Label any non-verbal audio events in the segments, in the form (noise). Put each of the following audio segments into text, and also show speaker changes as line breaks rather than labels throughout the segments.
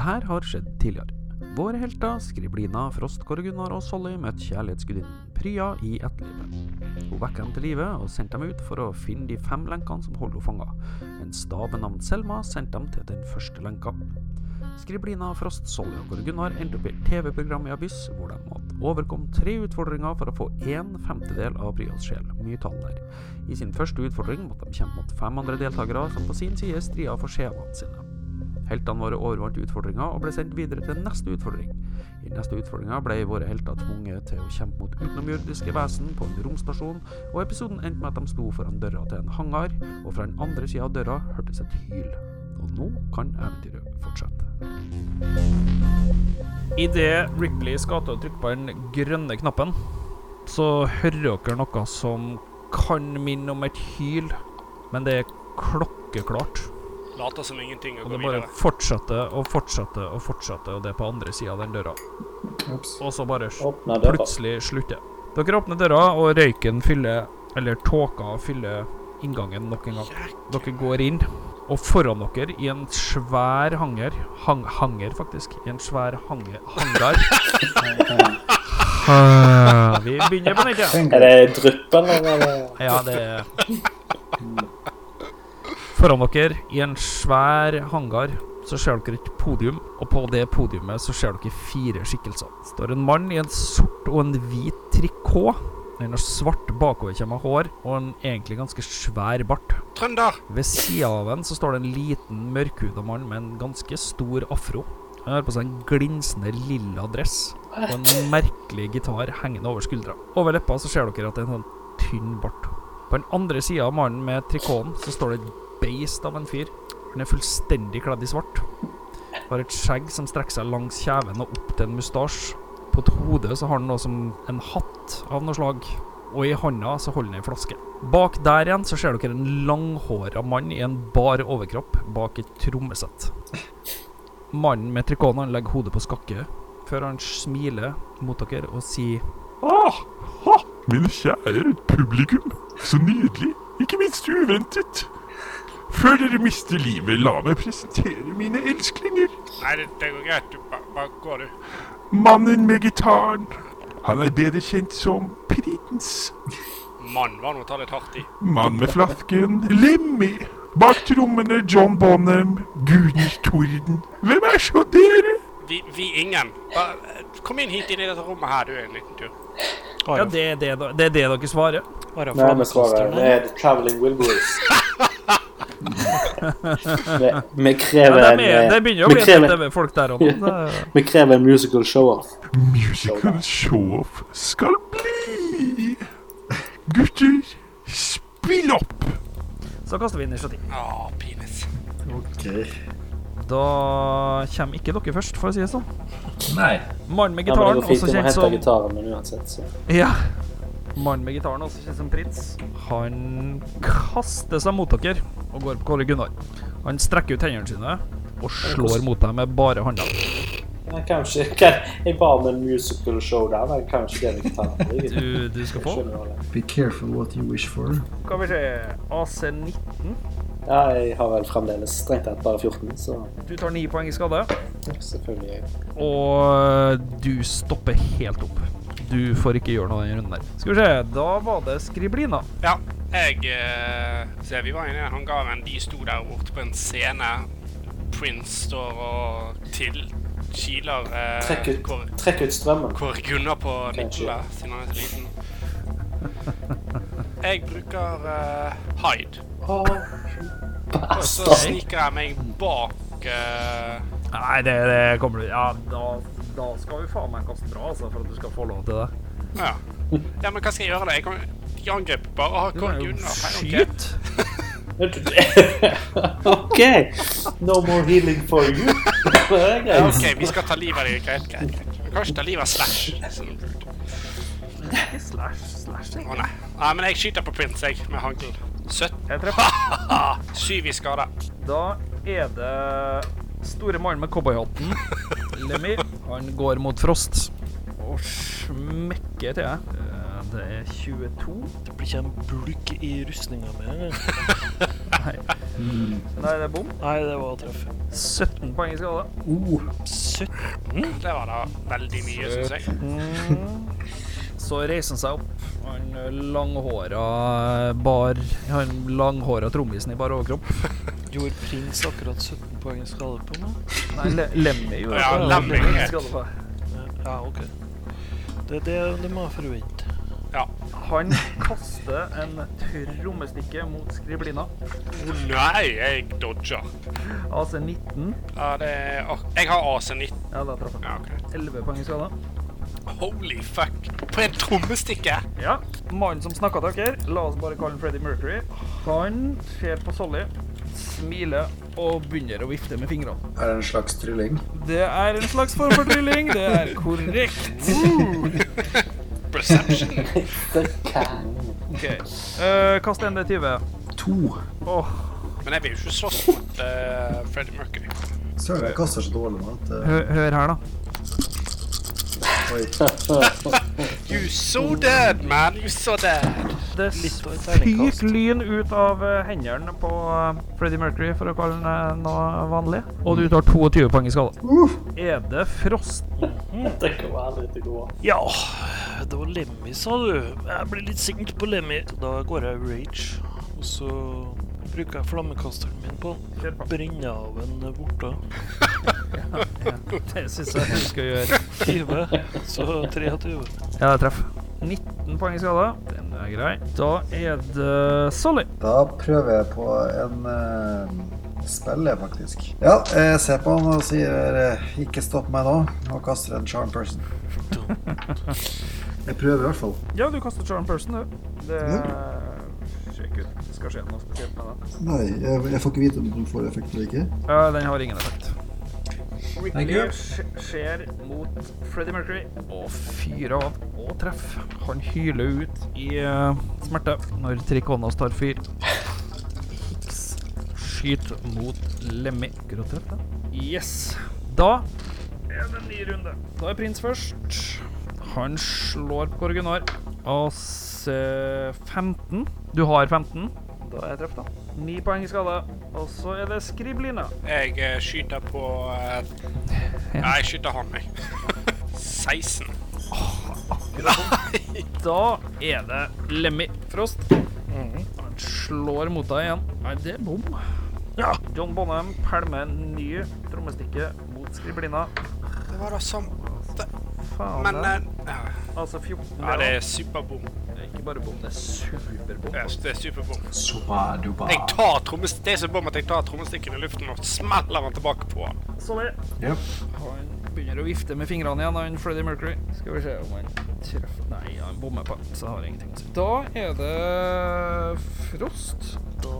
her har skjedd tidligere. Våre helter, Skriblina, Frostkår, Gunnar og Solly, møtte kjærlighetsgudinnen Prya i etterlivet. Hun vekket dem til live og sendte dem ut for å finne de fem lenkene som holdt henne fanga. En stav ved navn Selma sendte dem til den første lenka. Skriblina, Frost, Solly og Kåre Gunnar endte opp i et TV-program i Abyss, hvor de måtte overkomme tre utfordringer for å få en femtedel av Bryas sjel. Mye tall der. I sin første utfordring måtte de kjempe mot fem andre deltakere, som på sin side stria for skjevene sine. Heltene våre overvant utfordringa og ble sendt videre til neste utfordring. I neste utfordringa ble våre helter tvunget til å kjempe mot utenomjordiske vesen på en romstasjon, og episoden endte med at de sto foran døra til en hangar, og fra den andre sida av døra hørtes et hyl. Og nå kan eventyret fortsette.
Idet Ripley skal til å trykke på den grønne knappen, så hører dere noe som kan minne om et hyl, men det er klokkeklart.
Later som ingenting og
Og
går
det bare
videre.
fortsetter og fortsetter og fortsetter, og det er på andre sida av den døra.
Ops.
Og så bare s-
Åpna døra.
plutselig slutter. Dere åpner døra, og røyken fyller Eller tåka fyller inngangen nok en gang. Dere går inn, og foran dere, i en svær hanger hang, Hanger, faktisk. I en svær hange, hangar Vi begynner på nytt, ja.
Er det drypp, eller? hva er det?
Ja, det er Foran dere, i en svær hangar, så ser dere et podium. Og på det podiumet så ser dere fire skikkelser. Det står en mann i en sort og en hvit trikot. Han har svart bakoverkjemma hår og en egentlig ganske svær bart.
Trønder!
Ved sida av ham så står det en liten, mørkhuda mann med en ganske stor afro. Han har på seg en glinsende lilla dress og en merkelig gitar hengende over skuldra. Over leppa så ser dere at det er en sånn tynn bart. På den andre sida av mannen med trikoten så står det et beist av en fyr. Han er fullstendig kledd i svart. Har et skjegg som strekker seg langs kjeven og opp til en mustasje. På et hode så har han noe som en hatt av noe slag, og i hånda så holder han ei flaske. Bak der igjen så ser dere en langhåra mann i en bar overkropp bak et trommesett. Mannen med trikoten han legger hodet på skakke før han smiler mot dere og sier
Ah, ha, mine kjære publikum. Så nydelig, ikke minst uventet. Før dere mister livet, la meg presentere mine elsklinger.
Nei, det, det går greit. Du, bare, bare går, du.
Mannen med gitaren. Han er bedre kjent som Prins.
Mann var nå å ta litt hardt i.
Mann med flasken, Lemmy. Bak trommene, John Bonham. Gudens torden. Hvem er så dere?
Vi, vi ingen. Bare, eh, kom inn hit i dette rommet her, du, en liten tur.
Ja, det er det, da- det, er det dere svarer.
Nå er vi svaret. Det er The Traveling
(laughs)
Wilburys. Vi, vi
Ja, det,
krever en
er,
eh,
det begynner å
vi
bli sånn-
krever-
et TV-folk der
(laughs)
og nå. Det-
Vi krever en musical show-off.
Musical show-off skal bli. Gutter, spill opp.
Så kaster vi initiativ.
Å, penis.
Da kommer ikke dere først, for å si det sånn.
Nei.
Mannen med
Ja, men det
gitaren,
går fint,
også sånn-
vi
kjent
må hente
som
gitaren min uansett, så
Ja. Mannen med gitaren, også kjent som Prins, han kaster seg mot dere og går på Kåre Gunnar. Han strekker ut hendene sine og slår mot deg med bare hånda.
Men Kanskje (laughs) kan, Jeg ba om en musical show der, men kanskje det er gitaren min.
Du, du skal få.
Skjønner du det?
Be careful what you wish for.
Skal vi se AC19.
Ja, jeg har vel fremdeles strengt tatt bare 14, så
Du tar ni poeng i skade.
selvfølgelig jeg.
Og du stopper helt opp. Du får ikke gjøre noe i den runden der. Skal vi se, da var det Skriblina.
Ja, jeg eh, Se, vi var inne i den hangaren. De sto der borte på en scene. Prince står og til kiler eh,
Trekk ut,
hvor,
trekk ut strømmen. (laughs)
hvor Gunnar på
Kanskje.
Nikola, siden han er så liten. Jeg bruker eh, hide.
Å,
Og så
bastard.
sniker jeg meg bak eh,
Nei, det, det kommer du Ja, da, da skal vi faen meg kaste bra, altså, for at du skal få lov til det.
Ja. ja, men hva skal jeg gjøre da? Jeg kan de angrep bare ah,
Du
Kåre
kan jo
Gunnar. Hei, ok.
skyte.
OK. No more healing for you. (laughs) Det
Ja,
er greit.
OK, vi skal ta livet av deg. Greit, greit. greit. Vi kan ikke ta livet av Slash. som er rude.
Slash, slash,
Å nei. nei. Men jeg skyter på Prince, jeg, med hagl. 17.
Jeg treffer.
Syv i skade. (laughs)
Da er det store mannen med (laughs) cowboyhatten, Lemmy. Han går mot Frost og smekker til deg. Eh, Det er 22.
Det blir ikke en bulk i rustninga mi? eller?
Nei, det er bom.
Nei, det var treff.
17 poeng i skade.
Søtt.
Det var da veldig mye, syns jeg.
Så reiser han seg opp. Han eh, langhåra bar Han langhåra trommisen i bar overkropp.
Gjorde prins akkurat 17 poeng skade på meg?
Nei, le Lemmy gjorde
Ja,
det.
Lemmy.
Lemmy skade på.
Ja, OK. Det, det, det må jeg forvente.
Han kaster en trommestikke mot skriblina.
Å nei, jeg dodger.
AC 19.
Ja, det er ak- Jeg har AC19.
Ja, da traff han.
Ja, ok.
11 poeng i skade.
Holy fuck. På en trommestikke!
Ja. Mannen som snakka til dere, la oss bare kalle han Freddie Mercury. Han ser på Solly, smiler og begynner å vifte med fingrene.
Er det en slags trylling?
Det er en slags form for trylling. Det er korrekt.
Perception.
Ok. Eh, kast en D20.
To.
Åh,
Men jeg vil jo ikke slåss mot eh, Freddie Mercury.
Søren, jeg kaster så dårlig nå at eh,
hø hør her, da.
Oi.
You so dead, man. You so dead.
Det
Litt av et
fyker
terningkast.
lyn ut av eh, hendene på eh, Freddie Mercury, for å kalle den eh, noe vanlig. Og du tar 22 poeng i skade. Er det frost?
Det kommer aldri til å gå.
Ja, det var Lemmy, sa du. Jeg blir litt sint på Lemmy. Da går jeg rage, og så bruker jeg flammekasteren min på han.
Kjør på.
Brenne av en vorte.
Det syns (laughs) jeg du skal gjøre.
20, så 23.
Ja, det treff. 19 poeng i skade. Den er grei. Da er det Solly.
Da prøver jeg på en eh, spill, jeg, faktisk. Ja, jeg ser på han og sier eh, 'ikke stopp meg nå', og kaster en charm person. Jeg prøver i hvert fall.
Ja, du kaster charm person, du. Det Sjekk ut. Det skal skje noe spesielt med den.
Nei, jeg, jeg får ikke vite om den får effekt eller ikke.
Ja, den har ingen effekt.
Thank
Ripley
you.
sk- skjer mot Freddie Mercury og fyrer av og treffer. Han hyler ut i eh, smerte når Triconas tar fyr. Hicks skyter mot Lemmy. Akkurat treff, da. Yes. Da er det en ny runde. Da er prins først. Han slår på Korgunar. AC 15. Du har 15. Da er jeg treff, da. Ni poeng i skade. Og så er det Skriblina.
Jeg eh, skyter på eh, Nei, jeg skyter han, jeg. (laughs) 16.
Da er det Lemmy Frost. Han slår mot deg igjen. Nei, det er bom. Ja. John Bonham pælmer en ny trommestikke mot skriblina.
Det var da som
Faen,
Men
det.
eh, ja.
Altså 14
ja, det
det
er superbom.
er ikke bare bom, det er superbom.
Ja, Det er superbom.
Sobaduba.
Jeg tar trommes... Det er så bom at jeg tar trommestikken i luften og smeller den tilbake på han.
Sånn er det.
Yep.
Han begynner å vifte med fingrene igjen, han Freddie Mercury. Skal vi se om han treffer Nei, han bommer på, så har jeg ingenting å si. Da er det Frost.
Da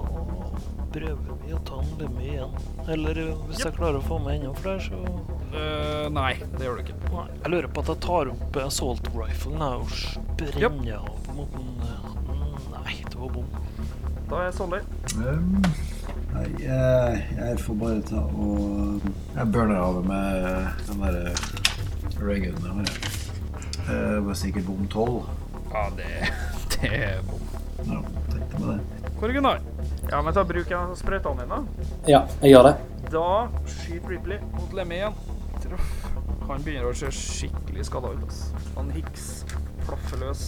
prøver vi å ta en Lemmy igjen. Eller eh, hvis jeg klarer å få med enda flere, så
Eh, nei, det gjør du ikke.
Nei, Jeg lurer på at jeg tar opp eh, assault riflen her og brenner av mot den eh, mm, Nei, det var bom.
Da er Solly.
Um, nei, jeg, jeg får bare ta og eh, Jeg burner av med den derre raygunnen jeg har. Eh, Det var sikkert bom tolv.
Ja, det, (laughs) det er bom.
Ja, tenkte meg det.
Korgunar. Ja, men ta bruk av sprøytene dine.
Ja, jeg gjør det.
Da skyter Ripley mot Lemmy igjen. Traff. Han begynner å se skikkelig skada ut. ass. Han hiks plaffer løs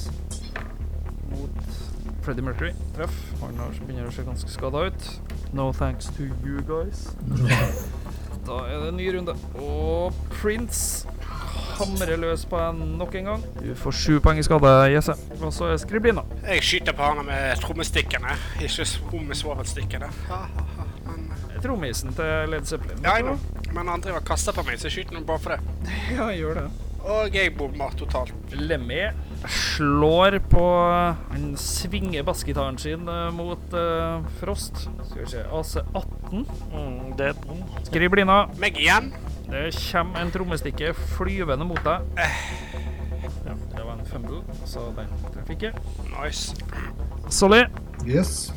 mot Freddie Mercury. Treff. Han har- begynner å se ganske skada ut. No thanks to you
(laughs)
guys. Da er det en ny runde. Og Prince hamrer løs på en nok en gang. Du får sju poeng i skade, Jesse. Og så er Skriblina.
Jeg skyter på han med trommestikkene, ikke s- bom med svovelstikkene. Ha, ha, ha. Men-
Trommisen til Led Zeppelin.
Ja, jeg vet. Men han driver og kaster på meg, så jeg skyter nå bare for det.
ja, gjør det.
Og jeg bommer totalt.
Lemmy slår på Han svinger bassgitaren sin eh, mot eh, Frost. Skal vi se AC 18.
Mm, det er bom.
Skriblina.
Meg igjen.
Det kommer en trommestikke flyvende mot deg.
Eh.
Ja, det var en fumble, så den traff ikke.
Nice.
Solly.
Yes.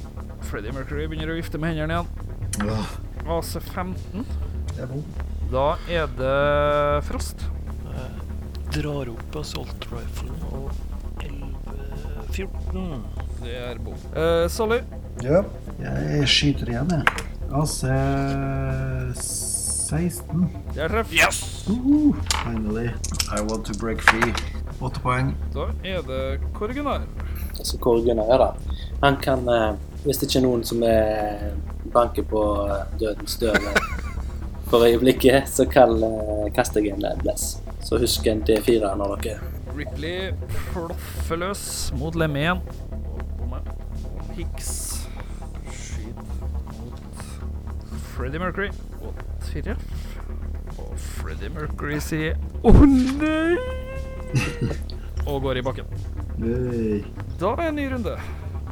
Freddie Mercury begynner å vifte med hendene igjen.
Ja,
AC 15.
det er bom.
Da er det Frost.
Drar opp assault riflen og 11 14.
Det er bom. Eh, Sally,
Ja. Jeg skyter igjen, jeg. AC 16.
det er treff.
Yes!
Uhu. Finally. I want to break free. Åtte poeng.
Da er det Korgunar.
Altså, hvor Gunnar er da. Han kan, eh, hvis det ikke er noen som eh, banker på eh, dødens dør eh, for øyeblikket, så kan eh, kaste jeg en eh, bless. Så husk en D4 når dere
Ripley flaffer løs mot lemme igjen. Og på meg. Hicks skyter mot Freddie Mercury. Og treff. Og Freddie Mercury sier Å nei! og går i bakken.
Hey.
Da er en ny runde.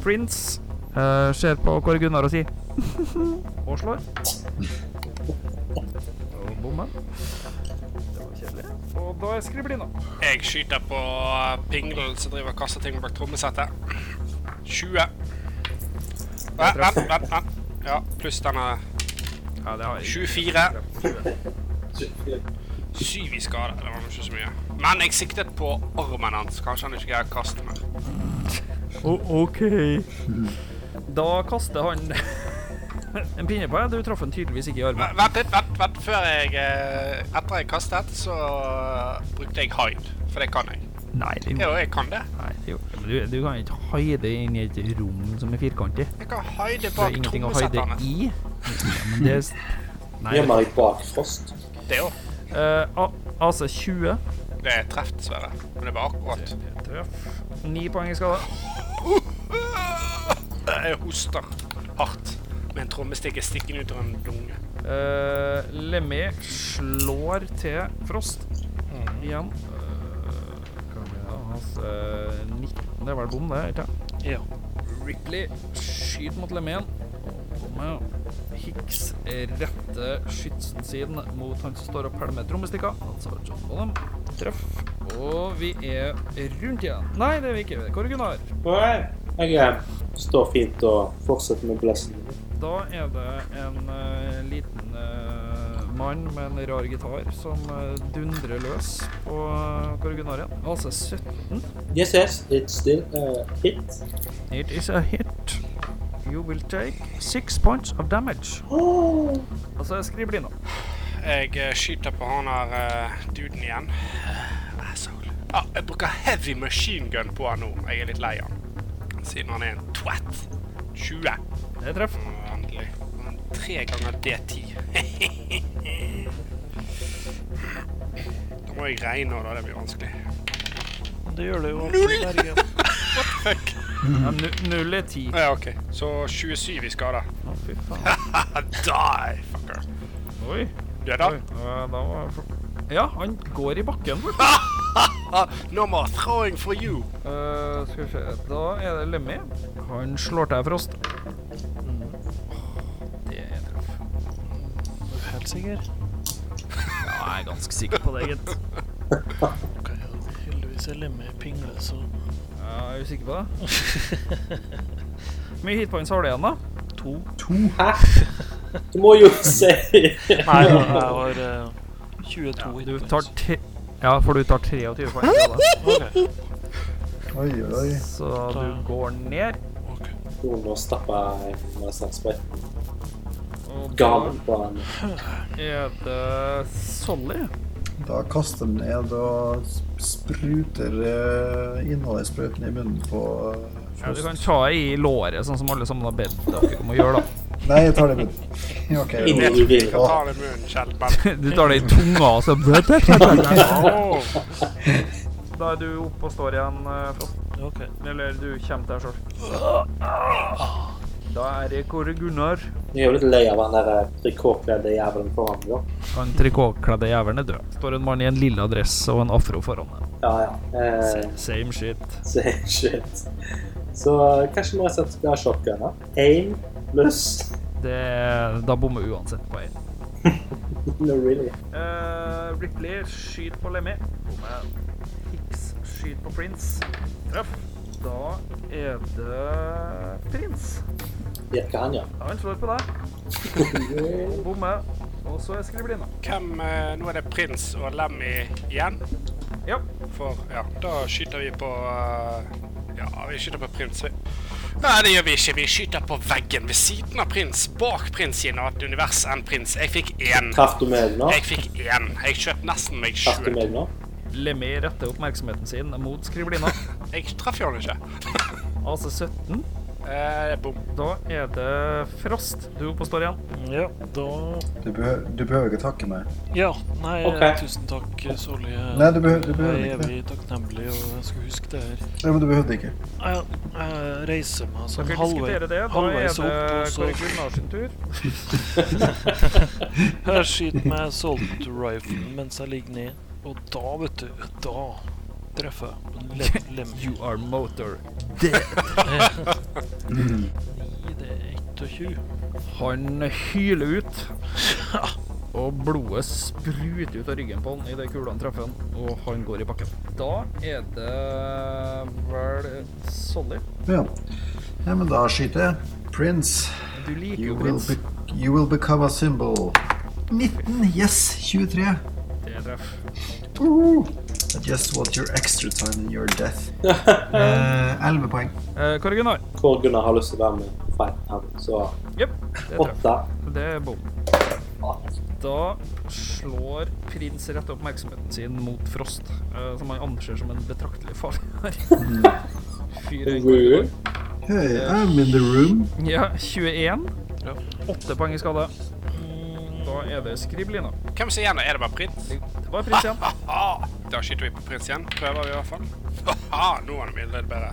Prince eh, ser på Kåre Gunnar og sier (laughs) Og slår. Og bommer. Det var kjedelig. Og da er skriblina.
Jeg skyter på pinglen som driver og kaster ting bak trommesettet. 20. Vent, vent, vent. vent. Ja, pluss denne
Ja, det har
24. 7 i skade. Det var nå ikke så mye. Men jeg siktet på armen hans. Kanskje han ikke greier å kaste mer.
OK. Da kaster han (laughs) en pinne på deg. Du traff han tydeligvis ikke i armen.
Vent vent litt, vent, vent. Før jeg eh, Etter jeg kastet, så brukte jeg hide. For det kan jeg.
Nei, det
Jo, jeg kan det.
Nei, det gjorde- men du, du kan ikke hide inn i et rom som er firkantig.
Jeg kan hide
Det er
bak
ingenting å
trommesettet
hide
hans.
i. Ja, men det er s- Nei, det-
gjemmer deg bak frost.
Det òg.
(laughs) Eh, A- AC 20.
Det er treff, dessverre. Men det var akkurat.
Ni poeng i skade.
Ah! Jeg hoster hardt med en trommestikke stikkende ut av en lunge.
Uh, Lemmy slår til Frost igjen. Eh, hva blir det? Hans eh, 19 Det er vel bom, det? ikke sant?
Ja.
Ripley skyter mot Lemmy igjen. Og bom, ja. Hicks retter skytsen sin mot han som står og pælmer trommestikker. Altså John Bonham. Treff. Og vi er rundt igjen. Nei, det er vi ikke. Det er Kåre Gunnar.
Nei, jeg eh, står fint og fortsetter med blessen.
Da er det en eh, liten eh, mann med en rar gitar som eh, dundrer løs på uh, Gorgunarien. AC 17.
Yes, yes, it's still a hit.
It is a hit. You will take six points of damage. Og så skriver de nå.
Jeg eh, skyter på han her eh, duden igjen. Ah, Asshole. Ja, jeg bruker heavy machine gun på han nå. Jeg er litt lei han. Siden han er en twat. 20.
Det treffer.
Mm, Endelig. Han er Tre ganger D10. (laughs) da må jeg regne, og da det blir vanskelig.
Det gjør det jo. Null! Bergen.
Ja, nu- null er ti.
Ja, OK. Så 27 i skade.
Å, fy faen.
Ah, Die, fucker.
Oi.
Du er da?
Oi. Ja, Da var jeg- ja, han går i bakken.
Ah, no more throwing for you.
Eh, skal vi se Da er det Lemmy. Han slår til Frost. Det er treff.
Er du Helt sikker?
Ja, jeg er ganske sikker på det, gitt.
(laughs) Ok, da. Heldigvis er lemmet pingle, så
Ja, er du sikker på det? Hvor mye hitpoints har du igjen, da?
to.
Du må jo si
Nei, (laughs) jeg har eh, 22
Du
hitpoints.
tar tre... Ja, for du tar 23 poeng. fra det.
Ok,
Oi, oi.
Så du går ned.
ok.
noen å stappe en slags brett.
Og da
Gammel på en
er det Solly.
Da kaster den ned og spruter eh, innholdet i sprøyten i munnen på eh,
Ja, du
Frost.
kan ta i låret, sånn som alle sammen har bedt dere om å gjøre, da. (laughs)
Nei, jeg tar det i munnen. (laughs) OK.
Inn i
Jeg tror ikke jeg kan
Åh.
ta det i munnen, Kjell, men (laughs)
Du tar det i tunga og så Da er du oppe og står igjen, eh, Frost.
ok.
Eller du kommer deg sjøl. Da er det Kåre Gunnar.
Jeg er jo litt lei av eh, han der trikotkledde jævelen foran meg. da.
Han trikotkledde jævelen er død. Står en mann i en lilla dress og en afro foran deg.
Ja, ja. Eh, (laughs)
Same shit.
så, shit. Så eh, kanskje vi rett og slett skal ha shotgun. Én pluss
Det, da bommer uansett på én.
(laughs) No, really.
Eh, Ripley skyter på Lemmy. Bommer. Hicks skyter på Prince. Treff. Da er det Prince.
Gjett hva han gjør.
Han slår på deg. Bommer. Og så er skriblina.
hvem eh, Nå er det Prins og Lemmy igjen.
Ja.
For ja, da skyter vi på eh, Ja, vi skyter på prins, vi. Nei, det gjør vi ikke. Vi skyter på veggen ved siden av prins, bak prins i et annet univers enn prins. Jeg fikk én.
Traff du meg nå?
Jeg fikk én. Jeg skjøt nesten meg
Traff du
sjøl.
meg nå?
Lemmy retter oppmerksomheten sin mot skrivelina.
Jeg traff jo han ikke.
AC17.
Eh, bom.
Da er det Frost du er oppe og står igjen.
Ja, da
Du, behøver, du behøver ikke takke meg.
Ja, nei, eh,
Ok.
tusen takk, Solli.
Nei, du behøver- du behøver
Jeg er
ikke det.
evig takknemlig, og jeg skal huske det her.
Nei, men du behøvde ikke.
Ja, jeg reiser meg sånn
Dere
halvvei-
diskuterer det. Da er
halvveis
det
opp, og så
Kåre Gunnar sin tur.
(laughs) Jeg skyter med assault rifle mens jeg ligger ned. Og da, vet du, da treffer jeg lem,
(laughs)
lem.
You are motor.
I det er 21.
Han hyler ut. (laughs) Og blodet spruter ut av ryggen på han idet kulene treffer han, og han går i bakken. Da er det vel Solly.
Ja. ja, men da skyter jeg. Prince.
Du liker
You
jo
will,
prins.
be you will become a symbol. 19. Yes. 23.
Det er treff.
Woohoo. I just want your extra time in your (laughs) death. Eh, 11 poeng.
Eh, Kåre Gunnar.
Hvor Gunnar har lyst til å være med i fight han, så
Jepp. Det er treff.
åtte.
Det er bom. Da slår prins rett oppmerksomheten sin mot Frost, eh, som han anser som en betraktelig fare. Fyr en god
Woo.
Hey, I'm in the room.
Ja, 21.
Ja.
8 poeng i skade. Da er det skriblina.
Hvem som er igjen? Er det bare prins?
Det var prins igjen.
Ah, da skyter vi på prins igjen. Prøver vi i hvert fall. Haha, nå er det mye litt bedre.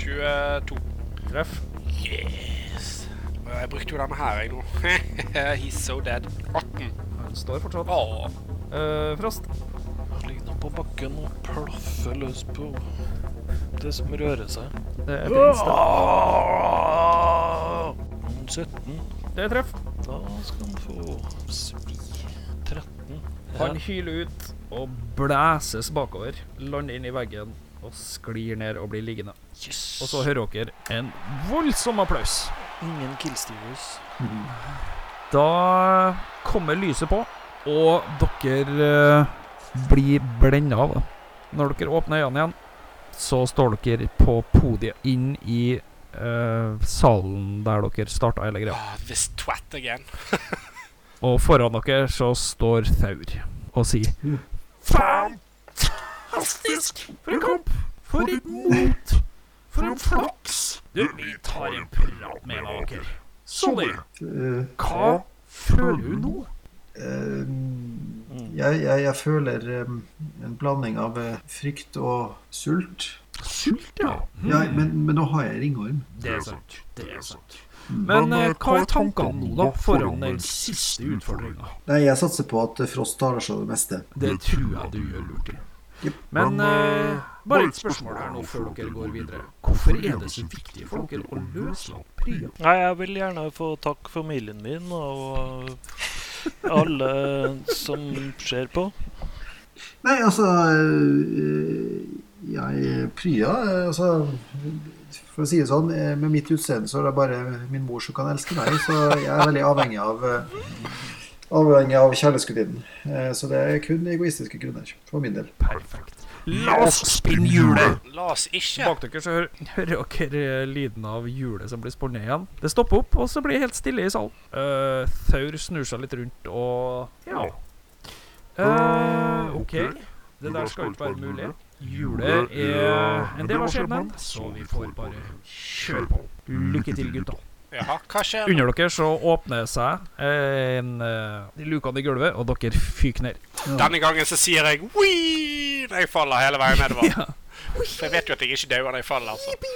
22.
Treff.
Yes. Og Jeg brukte jo denne her, jeg nå. (laughs) He's so dead. 18.
Han står fortsatt.
Åh.
Eh, Frost.
Jeg ligger nå på bakken og plaffer løs på det som rører seg.
Det er prins, det.
Mm, 17.
Det er treff.
Da skal han få svi. 13.
Han hyler ut og blæses bakover. Lander inn i veggen og sklir ned og blir liggende.
Yes.
Og så hører dere en voldsom applaus.
Ingen killstivers.
Da kommer lyset på, og dere eh, blir blenda av. da. Når dere åpner øynene igjen, så står dere på podiet inn i eh, salen der dere starta hele greia.
Ah, This twat again.
Og foran dere så står Thaur og sier Fantastisk! For en kamp! For et mot! For en flaks! Du, vi tar en prat med en av dere. Solly,
Eh,
hva føler du nå?
eh, jeg, jeg, jeg føler eh, en blanding av eh, frykt og sult.
Sult, ja.
Ja, men, men nå har jeg ringorm.
Det er sant. Det er sant. Men eh, hva er tankene nå, da, foran den siste utfordringa?
Nei, jeg satser på at Frost tar seg av det meste.
Det tror jeg du gjør lurt i.
Jep.
Men eh, bare et spørsmål her nå før dere går videre. Hvorfor er det så viktig for dere å løslate Priya?
Nei, jeg vil gjerne få takke familien min og alle som ser på.
Nei, altså eh, Jeg Prya eh, altså, For å si det sånn, eh, med mitt utseende så er det bare min mor som kan elske meg, så jeg er veldig avhengig av eh, Avhengig av kjærlighetsgudinnen. Eh, Så det er kun egoistiske grunner, for min del.
Perfekt.
La oss spinne hjulet!
La oss ikke.
Bak dere så hører, hører dere lyden av hjulet som blir spunnet igjen. Det stopper opp, og så blir det helt stille i salen. Eh, Thaur snur seg litt rundt og Ja. Eh, OK. Det der skal ikke være mulig. Hjulet
eh,
er eh, en del av skjebnen, Mm. så vi får bare kjøre på. Lykke til, gutta.
Jaha, hva skjer?
Under dere så åpner seg en, eh, de lukene i gulvet, og dere fyker ned.
Denne gangen så sier jeg Wii! når Jeg faller hele veien nedover. For jeg vet jo at jeg ikke dauer når jeg faller, altså.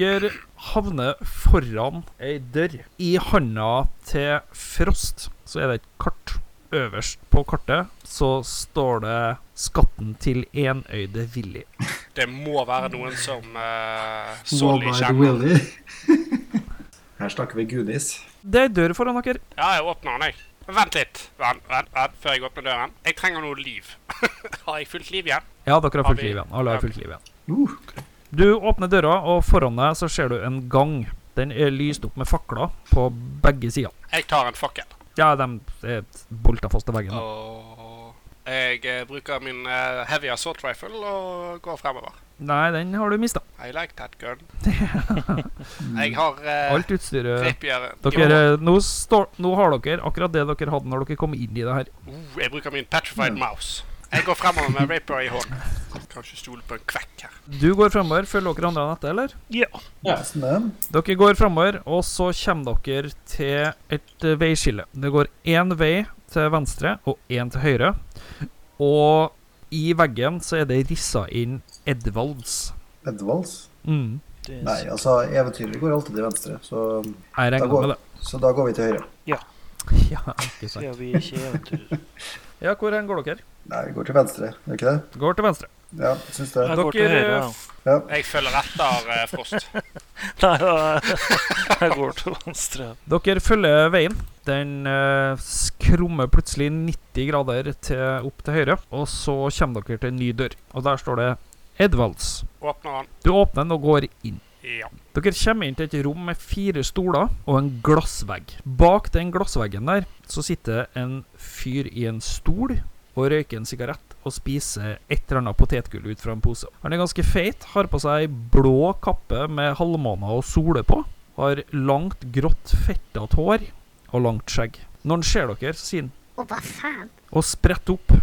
Dere havner foran ei dør. I handa til Frost så er det et kart. Øverst på kartet så står det 'Skatten til enøyde Willy'.
Det må være noen som uh, Solly
Wall-eyed
kjenner.
Willy. (laughs) Her snakker vi Gudis.
Det er ei dør foran dere.
Ja, jeg åpner den, jeg. Vent litt. Vent, vent, vent, før jeg åpner døren. Jeg trenger noe liv. (laughs) Har jeg fullt liv igjen?
Ja, dere har
Har
fullt
vi-
liv igjen. Alle har fullt liv igjen.
Uh,
Du åpner døra, og foran deg så ser du en gang. Den er lyst opp med fakler på begge sider.
Jeg tar en fakkel.
Ja, de er bolta fast til veggen. da.
Og jeg eh, bruker min eh, heavy assault rifle og går fremover.
Nei, den har du mista.
I like
(laughs)
that gun. jeg har eh,
Alt utstyret
rapieren.
dere, nå, står, nå har dere akkurat det dere hadde når dere kom inn i det her.
Oh, jeg bruker min petrified mouse. Jeg går fremover med rapier i hånden. Kan ikke stole på en kvekk her.
Du går fremover, følger dere andre etter, eller?
Ja.
Nesten det.
Dere går framover, og så kommer dere til et eh, veiskille. Det går én vei til venstre og én til høyre. Og i veggen så er det rissa inn Edvalds.
Edvalds?
Mm.
Det er
Nei, altså eventyret går alltid til venstre, så,
Jeg
Da
regner
går-
med det.
så da går vi til høyre.
Ja, ikke sant.
sier vi ikke eventyr.
ja, hvor hen går dere?
Nei, vi går til venstre, gjør vi ikke det?
Går til venstre.
Ja, syns det.
Jeg går til
Dere-
høyre. ja.
Ja.
Jeg følger etter eh, Frost.
(laughs) Nei, jeg, jeg går til venstre.
Dere følger veien. Den eh, skrummer plutselig 90 grader til, opp til høyre, og så kommer dere til en ny dør. Og der står det Edvalds.
Åpner han.
Du åpner den og går inn.
Ja.
Dere kommer inn til et rom med fire stoler og en glassvegg. Bak den glassveggen der så sitter en fyr i en stol og røyker en sigarett og spiser et eller annet potetgull ut fra en pose. Han er ganske feit, har på seg blå kappe med halvmåner og sole på. Har langt, grått, fettete hår og langt skjegg. Når han ser dere, så sier han
Å, hva faen?
og spretter opp.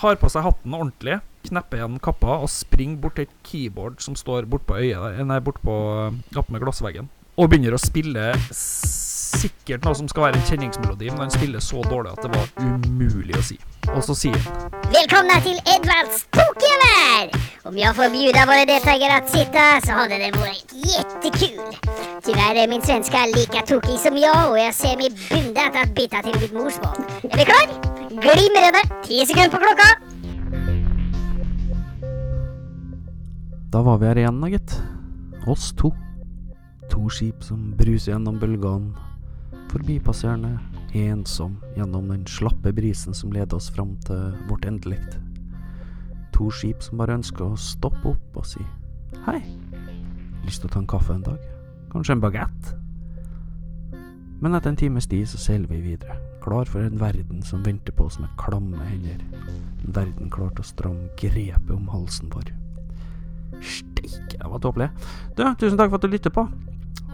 Har på seg hatten ordentlig, knepper igjen kappa og springer bort til et keyboard som står bortpå bort på, eh, opp med glassveggen. Og begynner å spille sikkert noe som skal være en kjenningsmelodi, men han spiller så dårlig at det var umulig å si. Og så sier han
Välkomna till Edvards pokervärld! Om jag får bjuda våra deltagare att sitta så hade det varit jättekul. Tyvärr är min svenska lika tokig som jag och jag ser mig bundad att byta till mitt morsmål. Är vi klar? Glim redan! 10 sekunder på klockan!
Da var vi her igjen, da, gitt. Oss to. To skip som bruser gjennom bølgene. Forbipasserende, ensom gjennom den slappe brisen som leder oss fram til vårt endelikt. To skip som bare ønsker å stoppe opp og si hei. Lyst til å ta en kaffe en dag? Kanskje en bagett? Men etter en times tid så seiler vi videre, klar for en verden som venter på oss med klamme hender. En verden klar til å stramme grepet om halsen vår. Steike, det var tåpelig. Du, tusen takk for at du lytter på.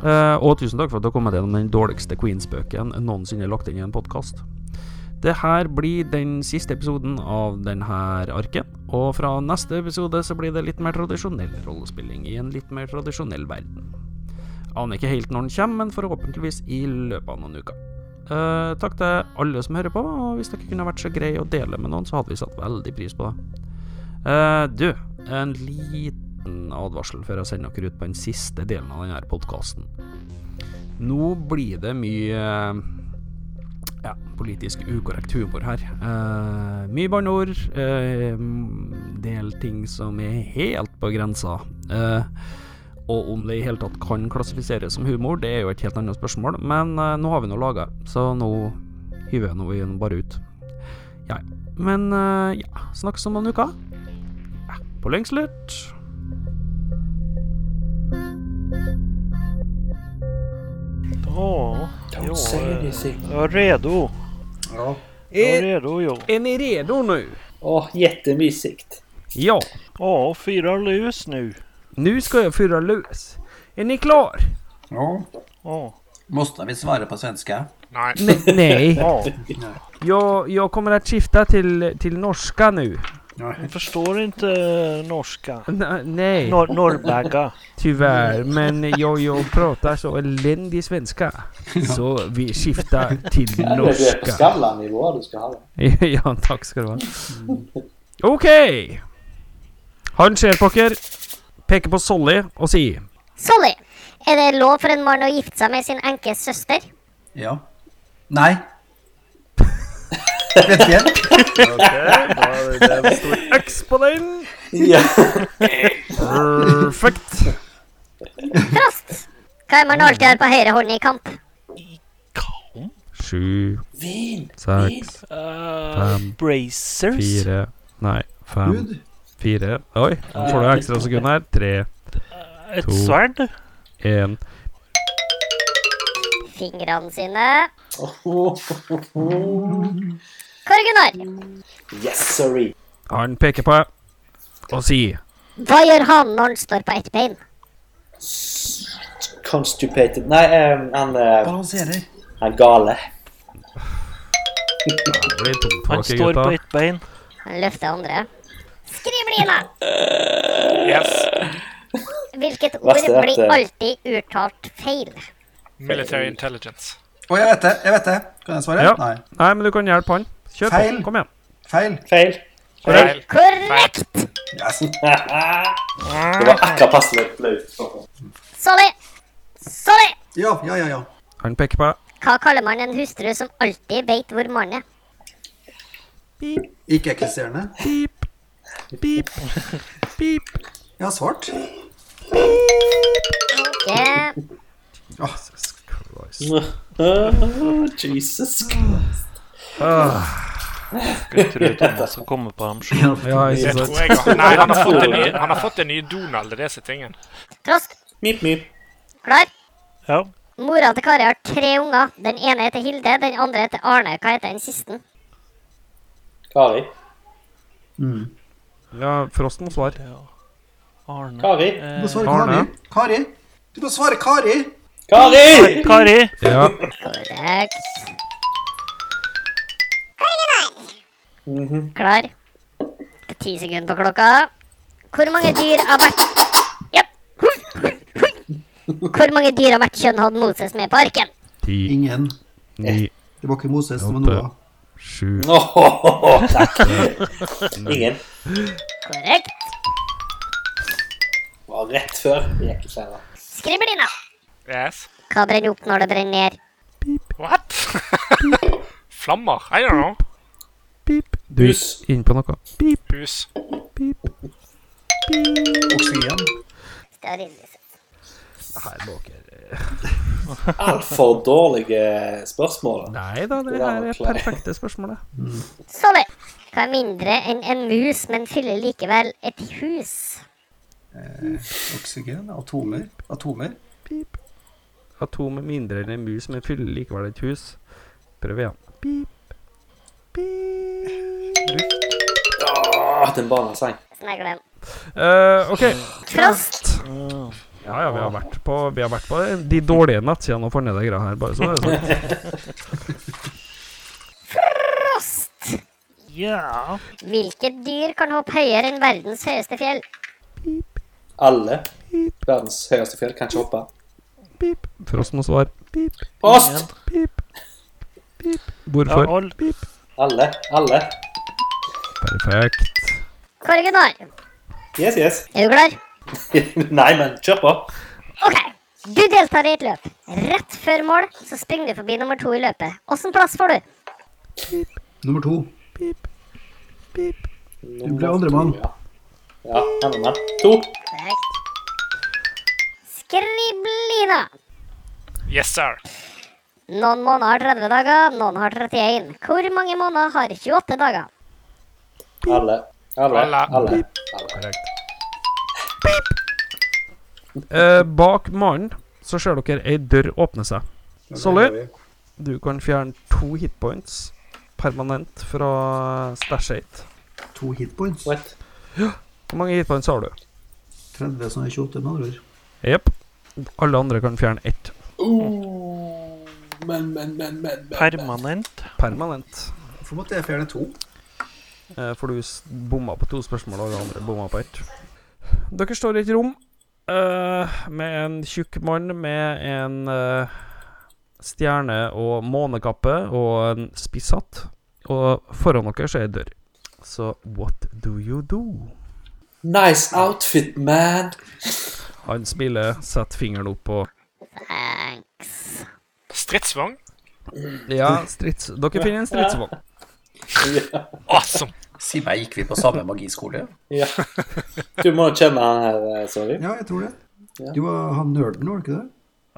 Eh, og tusen takk for at du har kommet gjennom den dårligste Queens-bøken noensinne lagt inn i en podkast. Det her blir den siste episoden av denne arken. Og fra neste episode så blir det litt mer tradisjonell rollespilling i en litt mer tradisjonell verden. Aner ikke helt når den kommer, men forhåpentligvis i løpet av noen uker. Eh, takk til alle som hører på, og hvis dere kunne vært så greie å dele med noen, så hadde vi satt veldig pris på det. Eh, du, en liten liten advarsel før jeg sender dere ut på den siste delen av denne podkasten. Nå blir det mye eh, ja, politisk ukorrekt humor her. Eh, mye banneord. eh, m, del ting som er helt på grensa. Eh, og om det i hele tatt kan klassifiseres som humor, det er jo et helt annet spørsmål. Men eh, nå har vi nå laga, så nå hiver jeg nå vi nå bare ut. Ja, men eh, ja, snakkes om noen uker. Ja, på lengst lurt.
Ja, jo,
say this,
eh,
Sigmund.
jag är redo.
Ja.
Jag är redo, jo.
Är ni redo nu?
Åh, jättemysigt.
Ja,
Ja, fyra lus nu.
nu ska jag fyra lös. Är ni klar?
ja.
Ja.
Måste vi svara på svenska?
Nei.
(laughs) nej,
ja.
jag, jag kommer att skifta till, till norska nu.
Jag förstår inte norska.
N- nej,
Nor norrbagga.
tyvärr. Men jag, jag pratar så eländig svenska. Så vi skiftar till
Eller du är på
(laughs)
norska.
Skavlan-nivå du ska ha det.
ja, tack ska du ha. Okej! Han ser på er, peker på Solly og sier
Solly! Er det lov for en mann å gifte seg med sin enkes søster?
Ja. Nej.
X på den.
Ja.
Perfekt.
Frost! Hva er man alltid har på høyre hånd i kamp?
Mm.
Sju,
Vin!
seks,
Uh,
Fem,
bracers.
fire Nei, fem,
Gud.
fire Oi, nå får du ekstra sekund her. Tre, to.
Ett svärd.
én
Fingrene sine.
Oh.
Kåre Gunnar!
Yes, sorry.
Han peker på deg og sier
Vad gör han när han står på ett ben?
Constipated Nei, eh, han, eh,
Balanserer.
han gale.
Det blir tungt for
Han
dere,
står
gutta.
på ett bein.
Han lyfter andra. Skriblina!
Yes.
Vilket ord
Värsta är att,
blir
eh,
alltid uttalat fel?
Military intelligence.
Å, jeg vet det. jeg vet det. Kan jeg svare?
Ja.
Nei.
Nei, men du kan hjelpe han. Kjør på.
Feil.
Kom igjen.
Feil.
Feil.
Feil.
Korrekt!
Yes.
det var
Ah.
akkurat passelig flaut.
Sorry! Sorry!
Ja, ja, ja. ja.
Han peker på deg.
Hva kaller man en hustru som alltid vet hvor mannen er?
Ikke-eksisterende.
Pip, pip, pip.
Jeg har svart.
Ikke
Åh,
Oh, Jesus
Skulle tro Thomas har kommet på dem sjøl.
Ja,
Det
ikke sant.
tror jeg han. Nei, han har fått en ny, han har fått en ny Donald, det er disse tingene.
Trosk,
Mip, mip.
klar?
Ja.
Mora til Kari har tre unger. Den ene heter Hilde, den andre heter Arne. Hva heter den siste?
Kari.
Ja, Frosten må svare.
Arne
Kari.
Du må
Eh,
svare Kari.
Arne.
Kari. Du må svare Kari.
Kari!
Kari!
Ja.
Korrekt. Klar? Ti sekunder på klokka. Hvor mange dyr av hvert Ja. Hvor mange dyr av hvert kjønn hadde Moses med på arken?
Ti,
Ingen.
ni,
Det var ikke Moses, det var
Åtte.
Noah.
sju
Åhåhå, takk. Ingen.
Korrekt.
Var rett før. Det gikk ikke heller.
Skriblina.
Yes.
Hva brenner opp når det brenner ned?
What? (laughs) Flammer? I don't know.
Pip. Du er
Hus.
inn på noe. Pip,
Hus.
pip.
Oksygen.
Det er rimelig sett.
Altfor dårlige spørsmål.
Nei da, det her er perfekte spørsmålet.
Solly. Hva er mindre enn en mus, men fyller likevel et hus?
Oksygen. Atomer. Atomer.
Pip. Atom er mindre enn en mus, men fyller likevel et hus. Prøv igjen. Pip. Pip.
Åh, den barna sang.
Sneglem.
Eh, OK.
Mm.
Frost.
Ja, ja, vi har vært på, vi har vært på de dårlige nettsidene og får ned de greia her, bare så det er sagt.
Ja.
Hvilket dyr kan hoppe høyere enn verdens høyeste fjell?
Alle. Verdens høyeste fjell kan ikke hoppe.
Pip. Frosten må svare. Pip,
Post!
pip. Pip.
ja
Hvorfor?
all.
Alle. Alle.
Perfekt.
Kåre Gunnar,
Yes, yes. (laughs)
er du klar?
Nei, men kjør på.
Ok. Du deltar i et løp. Rett før mål så springer du forbi nummer to i løpet. Åssen plass får du?
Nummer to.
Pip. Pip.
Du
ble andremann.
Ja, ja andremann. To.
Korrekt. Skriblina.
Yes, sir.
Noen måneder har 30 dager, noen har 31. Hvor mange måneder har 28 dager?
Alle. Alle.
Alle.
Alle.
Eh, bak mannen så ser dere ei dør åpne seg. Solly, du kan fjerne to hitpoints permanent fra stæsjet ditt.
To hitpoints.
What?
Hvor mange hitpoints har du?
30 som er 28 med andre ord.
Jepp. Alle andre kan fjerne ett
Men, men, men, men, men.
Permanent.
permanent.
Hvorfor måtte jeg fjerne to?
Eh, for du s- bomma på to spørsmål, og alle andre bomma på ett. Dere står i et rom eh, med en tjukk mann med en eh, stjerne- og månekappe og en spiss hatt. Og foran dere så er ei dør. Så what do you do?
Nice outfit, man.
Han smiler, setter fingeren opp og
Thanks.
Stridsvogn?
Ja, strids... Dere finner en stridsvogn.
Awesome.
Si meg, gikk vi på samme magiskole?
Ja. Du må kjenne han her, eh, sorry.
Ja, jeg tror det. Du var han nerden, var du ikke det?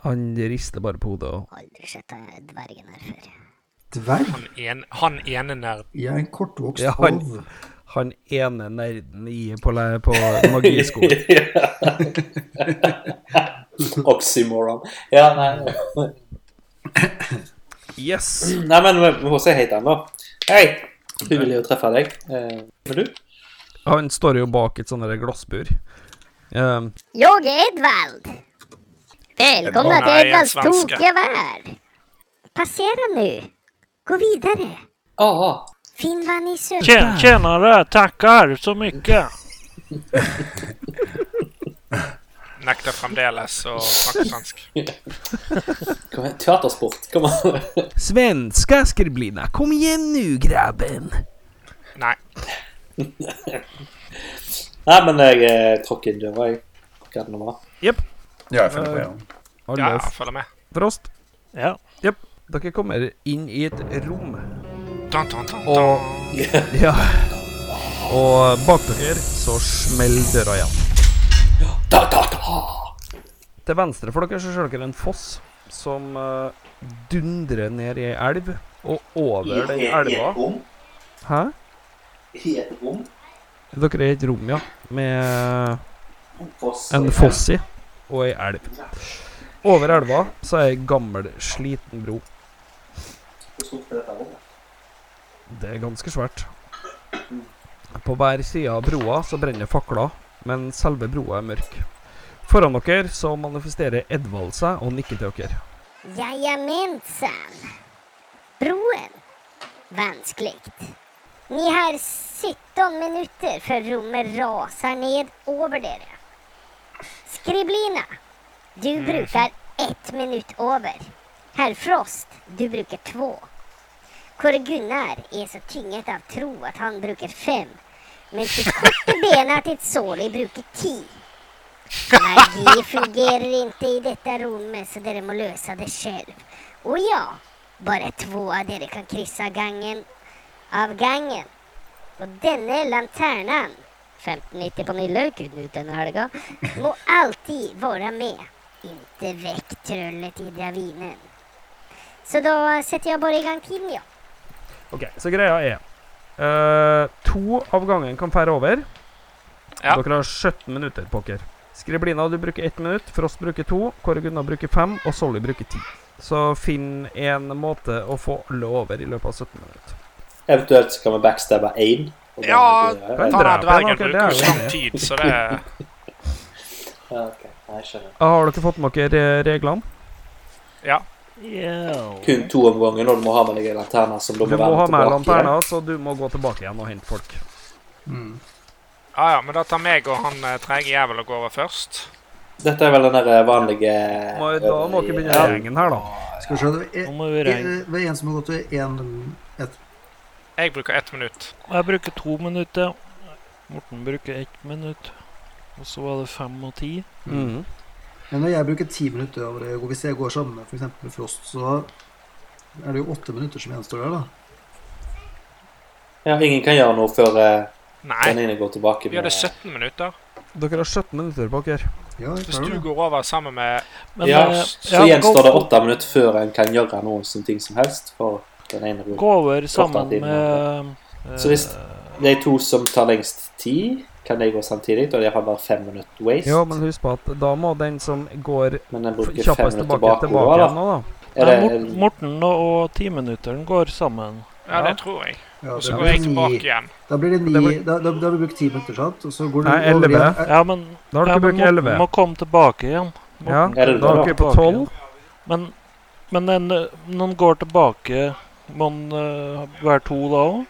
Han rister bare på hodet og
Aldri sett den dvergen her før.
Dverg?
Han, en, han ene nerden.
Jeg er en kortvokst
Ja, han,
hov.
han ene nerden i på, le- på
(laughs)
(laughs)
magiskolen.
Oxymoron. Ja, nei.
Yes!
Nei, men vi må se hei til han da. Hei! Hyggelig å treffe deg. Eh, men du?
Han står jo bak et sånt der glassbur. Ehm,
Jag är Edvald. Välkomna till
Nej, en
Edvalds
svenska.
tokiga värld. Passera nu. Gå vidare.
Ah,
Finland i söder.
Tjen- Tjenare, tackar så mycket.
Nekter fremdeles å snakke svensk.
kom igjen. Teatersport. Kom an.
Svenska skriblina, kom igjen nu, grabben!
Nei.
Nei, men jeg eh, tråkk inn døra, jeg. Hva det nå var.
Ja, jeg følger på, ja.
Alle
Ja,
f-
følger med.
frost.
Ja.
Dere kommer inn i et rom.
Dun, dun, dun, dun.
Og Ja. Og bak dere så smeller døra igjen.
Da, da, da.
Til venstre for dere så ser dere en foss som eh, dundrer ned i ei elv. Og over den elva Hæ?
Helt rom.
Dere er i et rom, ja. Med en foss i og ei elv. Over elva så er ei gammel, sliten bro. Det er ganske svært. På hver side av broa så brenner det fakler, men selve broa er mørk. Foran dere så manifesterer Edvald seg og nikker til dere.
Jajamensan. Broen. Vanskligt. Ni har 17 minuter för rummet rasar ned över er. Skriblina, du brukar ett minut över. Herr Frost, du brukar två. Kåre Gunnar är så tynget av tro att han brukar fem. Men sitt korta bena till Soli brukar tio. Magi fungerer inte i detta rummet så dere må løse det selv. Og ja, bare två av dere kan krysse gangen av gangen. Og denne lanternen, 1590 på Nylløyknuten helga, må alltid være med. Ikke vekk trøllet i dravinen. Så da setter jeg bare i gang tiden, ja.
Ok, Så greia er eh, To av gangen kan fære over.
Ja.
Dere har 17 minutter, pokker. Skriblina, du bruker ett minutt. Frost bruker to. Kåre Gunnar bruker fem. Og Solly bruker ti. Så finn en måte å få alle over i løpet av 17 minutter.
Eventuelt så kan vi backstabbe én. og da-
Ja,
Men
Han
ja,
dra
der
på den,
dvergen
ok, det
bruker
er
jo
jo
så lang
enig.
tid, så det er
ok. Nei, jeg skjønner.
Ah, Har dere fått med dere eh, reglene?
Yeah.
Kun to om gangen, og du må ha med deg en lanterne som du
Du
må
må
være
ha med
tilbake i.
lanterna, så du må gå tilbake igjen og hente folk.
Ja ja, men da tar meg og han eh, treige jævel og går over først.
Dette er vel den der vanlige eh,
Må, da må dere begynne gjengen her, da.
Skal vi se det er-
Nå må vi
er-
regne.
er- Det er en som har gått til en- et-
Jeg bruker ett minutt.
Jeg bruker to minutter. Morten bruker ett minutt. Og så var det fem og ti.
Mm.
Mhm.
Men når jeg bruker ti minutter over det, og hvis jeg går sammen med for eksempel Frost, så er det jo åtte minutter som gjenstår der, da.
Ja, ingen kan gjøre noe før eh, den
Nei,
ene går tilbake.
vi hadde
med-
17 minutter.
Dere har 17 minutter bak her.
Ja, jeg
Hvis
klarer
du
det.
går over sammen med
Men
Ja,
eh,
Så
ja,
gjenstår
gå-
det åtte minutter før en kan gjøre noen sånne ting som helst. For den ene går.
Gå over sammen
tiden,
med eh,
Så hvis- De to som tar lengst tid, kan de gå samtidig, og de har bare fem minutter waste.
Ja, men husk på at da må den som går
men den bruker fem
kjappest
minutter
tilbake,
tilbake.
tilbake igjen
tilbake
nå, da.
er
Nei,
det,
Mort- Morten og, og timinutteren går sammen.
Ja, det tror jeg.
Ja,
Og
da
så
blir
går jeg
det
tilbake
ni-
igjen.
Da blir det
Det
ni
blir-
Da, da, da har vi brukt ti minutter, sant? Og så går du
Nei,
over
elleve.
igjen.
Ja, men,
Da har
ja,
dere
men
brukt
Morten
11.
må komme tilbake igjen.
Ja,
Morten
Er det
da er
da?
dere på
tilbake
12.
igjen. Men, men den, eh, når han går tilbake, må han eh, være to da òg?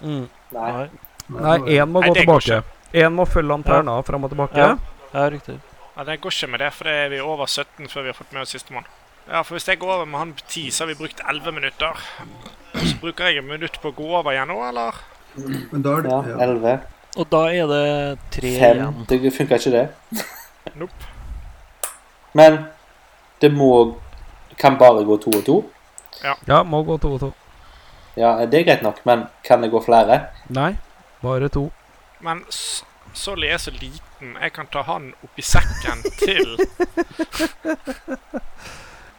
Mm.
Nei.
Nei.
Nei, én må
Nei,
gå
det går
tilbake. Én må følge lanterna fram og tilbake.
Ja. Ja, riktig.
Ja, Det går ikke med det, for det er vi over 17 før vi har fått med oss sistemann. Ja, for hvis jeg går over med han på 10, så har vi brukt 11 minutter. Så bruker jeg et minutt på å gå over igjen nå, eller?
Men da er det
Ja,
ja.
elleve.
Og da er det tre
Fem.
igjen.
Det funka ikke, det.
Nope.
Men det må Kan bare gå to og to.
Ja, må gå to og to.
Ja, det er greit nok, men kan det gå flere?
Nei, bare to.
Men S- Solly er så liten. Jeg kan ta han oppi sekken til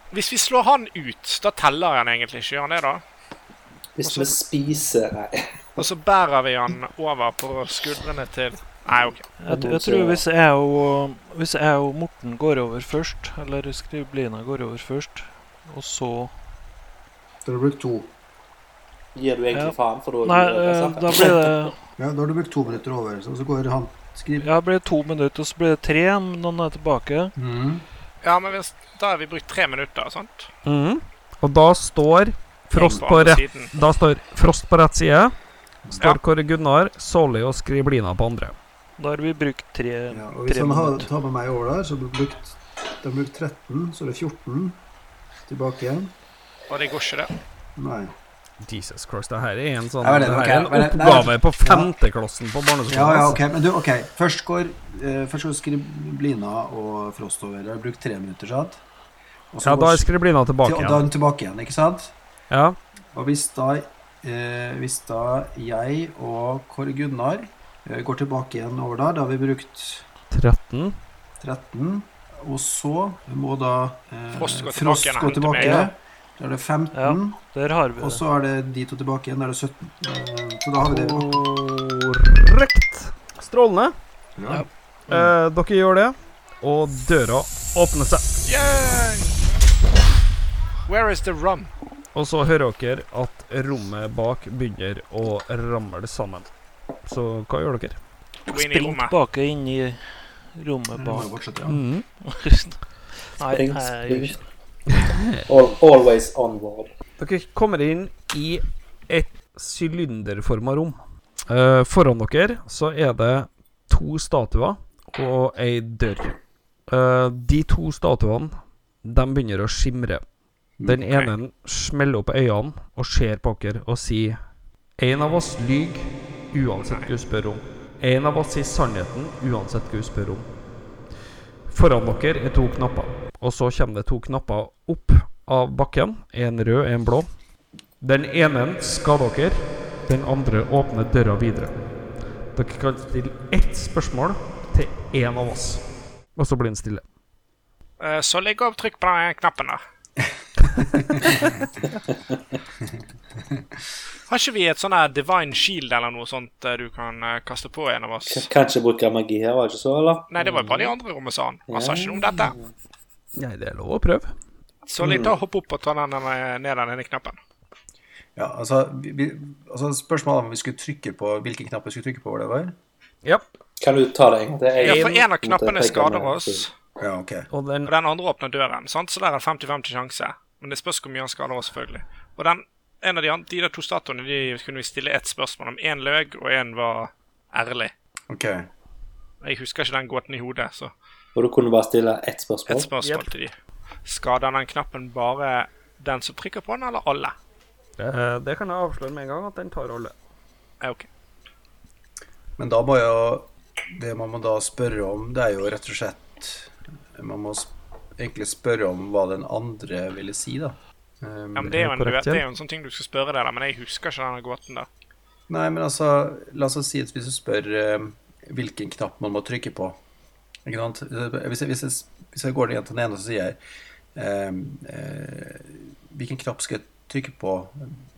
Hvis vi slår han ut, da teller han egentlig ikke, gjør han det, da?
Hvis vi spiser Nei.
Og så bærer vi han over på skuldrene til Nei, OK.
Jeg, t- jeg tror hvis jeg, og, hvis jeg og Morten går over først, eller Skriblina går over først, og så
Da har du brukt to.
Gir du egentlig
Ja.
faen, for da altså?
Nei, eh, da blir det
Ja, da har du brukt to minutter over, så så går han skriver.
Ja, det ble to minutter, og så ble det tre. men Noen er tilbake.
Mhm.
Ja, men hvis, da har vi brukt tre minutter, sant?
Mhm. Og da står Frost
På
på
andre
rett
siden.
Da står Frost på rett side. Står
Ja.
Kåre Gunnar, Solly og Skriblina på andre.
Da har vi brukt tre
Ja, og hvis
Tre
han har,
minutter.
tar med meg over der, så har du brukt, de har brukt 13, så er det 14. Tilbake igjen.
Og det går ikke, det.
Nei.
Jesus Christ, det her er en sånn
Ja, men det-
det her
ok,
er en
men det- nei,
oppgave på
ja.
femteklassen på barneskolen.
Ja, ja,
altså.
ok, men du, ok. Først går, eh, først går Skriblina og Frost over. Jeg har brukt tre minutter, sant? Og
Ja, da
går
er Skriblina
til-
tilbake
og da er
igjen.
hun tilbake igjen, ikke sant?
Ja.
Og hvis da, eh, hvis da jeg og Kåre Gunnar eh, går tilbake igjen over der, da har vi brukt
13.
13. Og så må da eh,
Frost gå tilbake
Frost
igjen,
gå
hente meg,
tilbake.
ja.
Da er det 15.
Ja. Der har vi
Og
det.
så er det de to tilbake igjen. Da er det 17. Eh, Så da har vi det.
Korrekt. Strålende.
Ja.
Eh, dere gjør det, og døra åpner seg.
Yay! Where is the rum?
Og så hører dere at rommet bak begynner å ramle sammen. Så hva gjør dere?
Gå inn i
Spring
rommet.
tilbake inn i rommet
Vi må jo
bak.
fortsette, ja.
Mm.
Nei, jeg
Spring,
gjør ikke det.
(laughs) Al always onward.
Dere kommer inn i et sylinderforma rom. Eh, foran dere så er det to statuer og ei dør. Eh, de to statuene de begynner å skimre. Den
Ok.
ene smeller opp øynene og ser på dere og sier En av oss lyver uansett hva hun spør om. En av oss sier sannheten uansett hva hun spør om. Foran dere er to knapper, og så kommer det to knapper opp av bakken. En rød, en blå. Den ene skader dere, den andre åpner døra videre. Dere kan stille ett spørsmål til én av oss, og så blir den stille.
Eh, Så legg opp trykk på den knappen der. Har ikke vi et sånn her divine shield eller noe sånt eh, du kan eh, kaste på en av
K
oss?
kanskje bruker magi her, var det ikke så, eller?
Nei, det var jo bare de andre i rommet, sa han. Han sa ikke noe om dette.
Nei, det er lov å prøve.
Så litt å hoppe opp og ta den eh, ned den ene knappen.
Ja, altså, vi, vi, altså Spørsmålet om vi skulle trykke på hvilke knapper vi skulle trykke på, var det var?
Ja,
Kan du ta det en gang til? Jeg-
Ja, for en av
måtte
knappene
trekke
skader
meg.
oss,
Ja, ok.
og den
og den andre åpner døren, sant? så der er det 50-50 sjanse. Men det spørs hvor mye han skader oss, selvfølgelig. Og den, en av de, an- de der to statuene de kunne vi stille ett spørsmål om. Én løg, og én var ærlig.
Ok.
Jeg husker ikke den gåten i hodet, så
Og du kunne bare stille ett spørsmål?
Et spørsmål til de. Skader den knappen bare den som trykker på den, eller alle?
Eh, det kan jeg avsløre med en gang, at den tar alle.
Eh, ok.
Men da må jo Det man må da spørre om, det er jo rett og slett Man må sp egentlig spørre om hva den andre ville si, da. Um,
Ja, men det er jo en, du
korrekt,
vet, det
ja.
er jo en sånn ting du skal spørre deg, da, men jeg husker ikke denne gåten der.
Nei, men altså, la oss si at hvis du spør um, hvilken knapp man må trykke på ikke sant? Hvis jeg, hvis jeg, hvis jeg går ned til den ene, så sier jeg um, eh, Hvilken knapp skal jeg trykke på?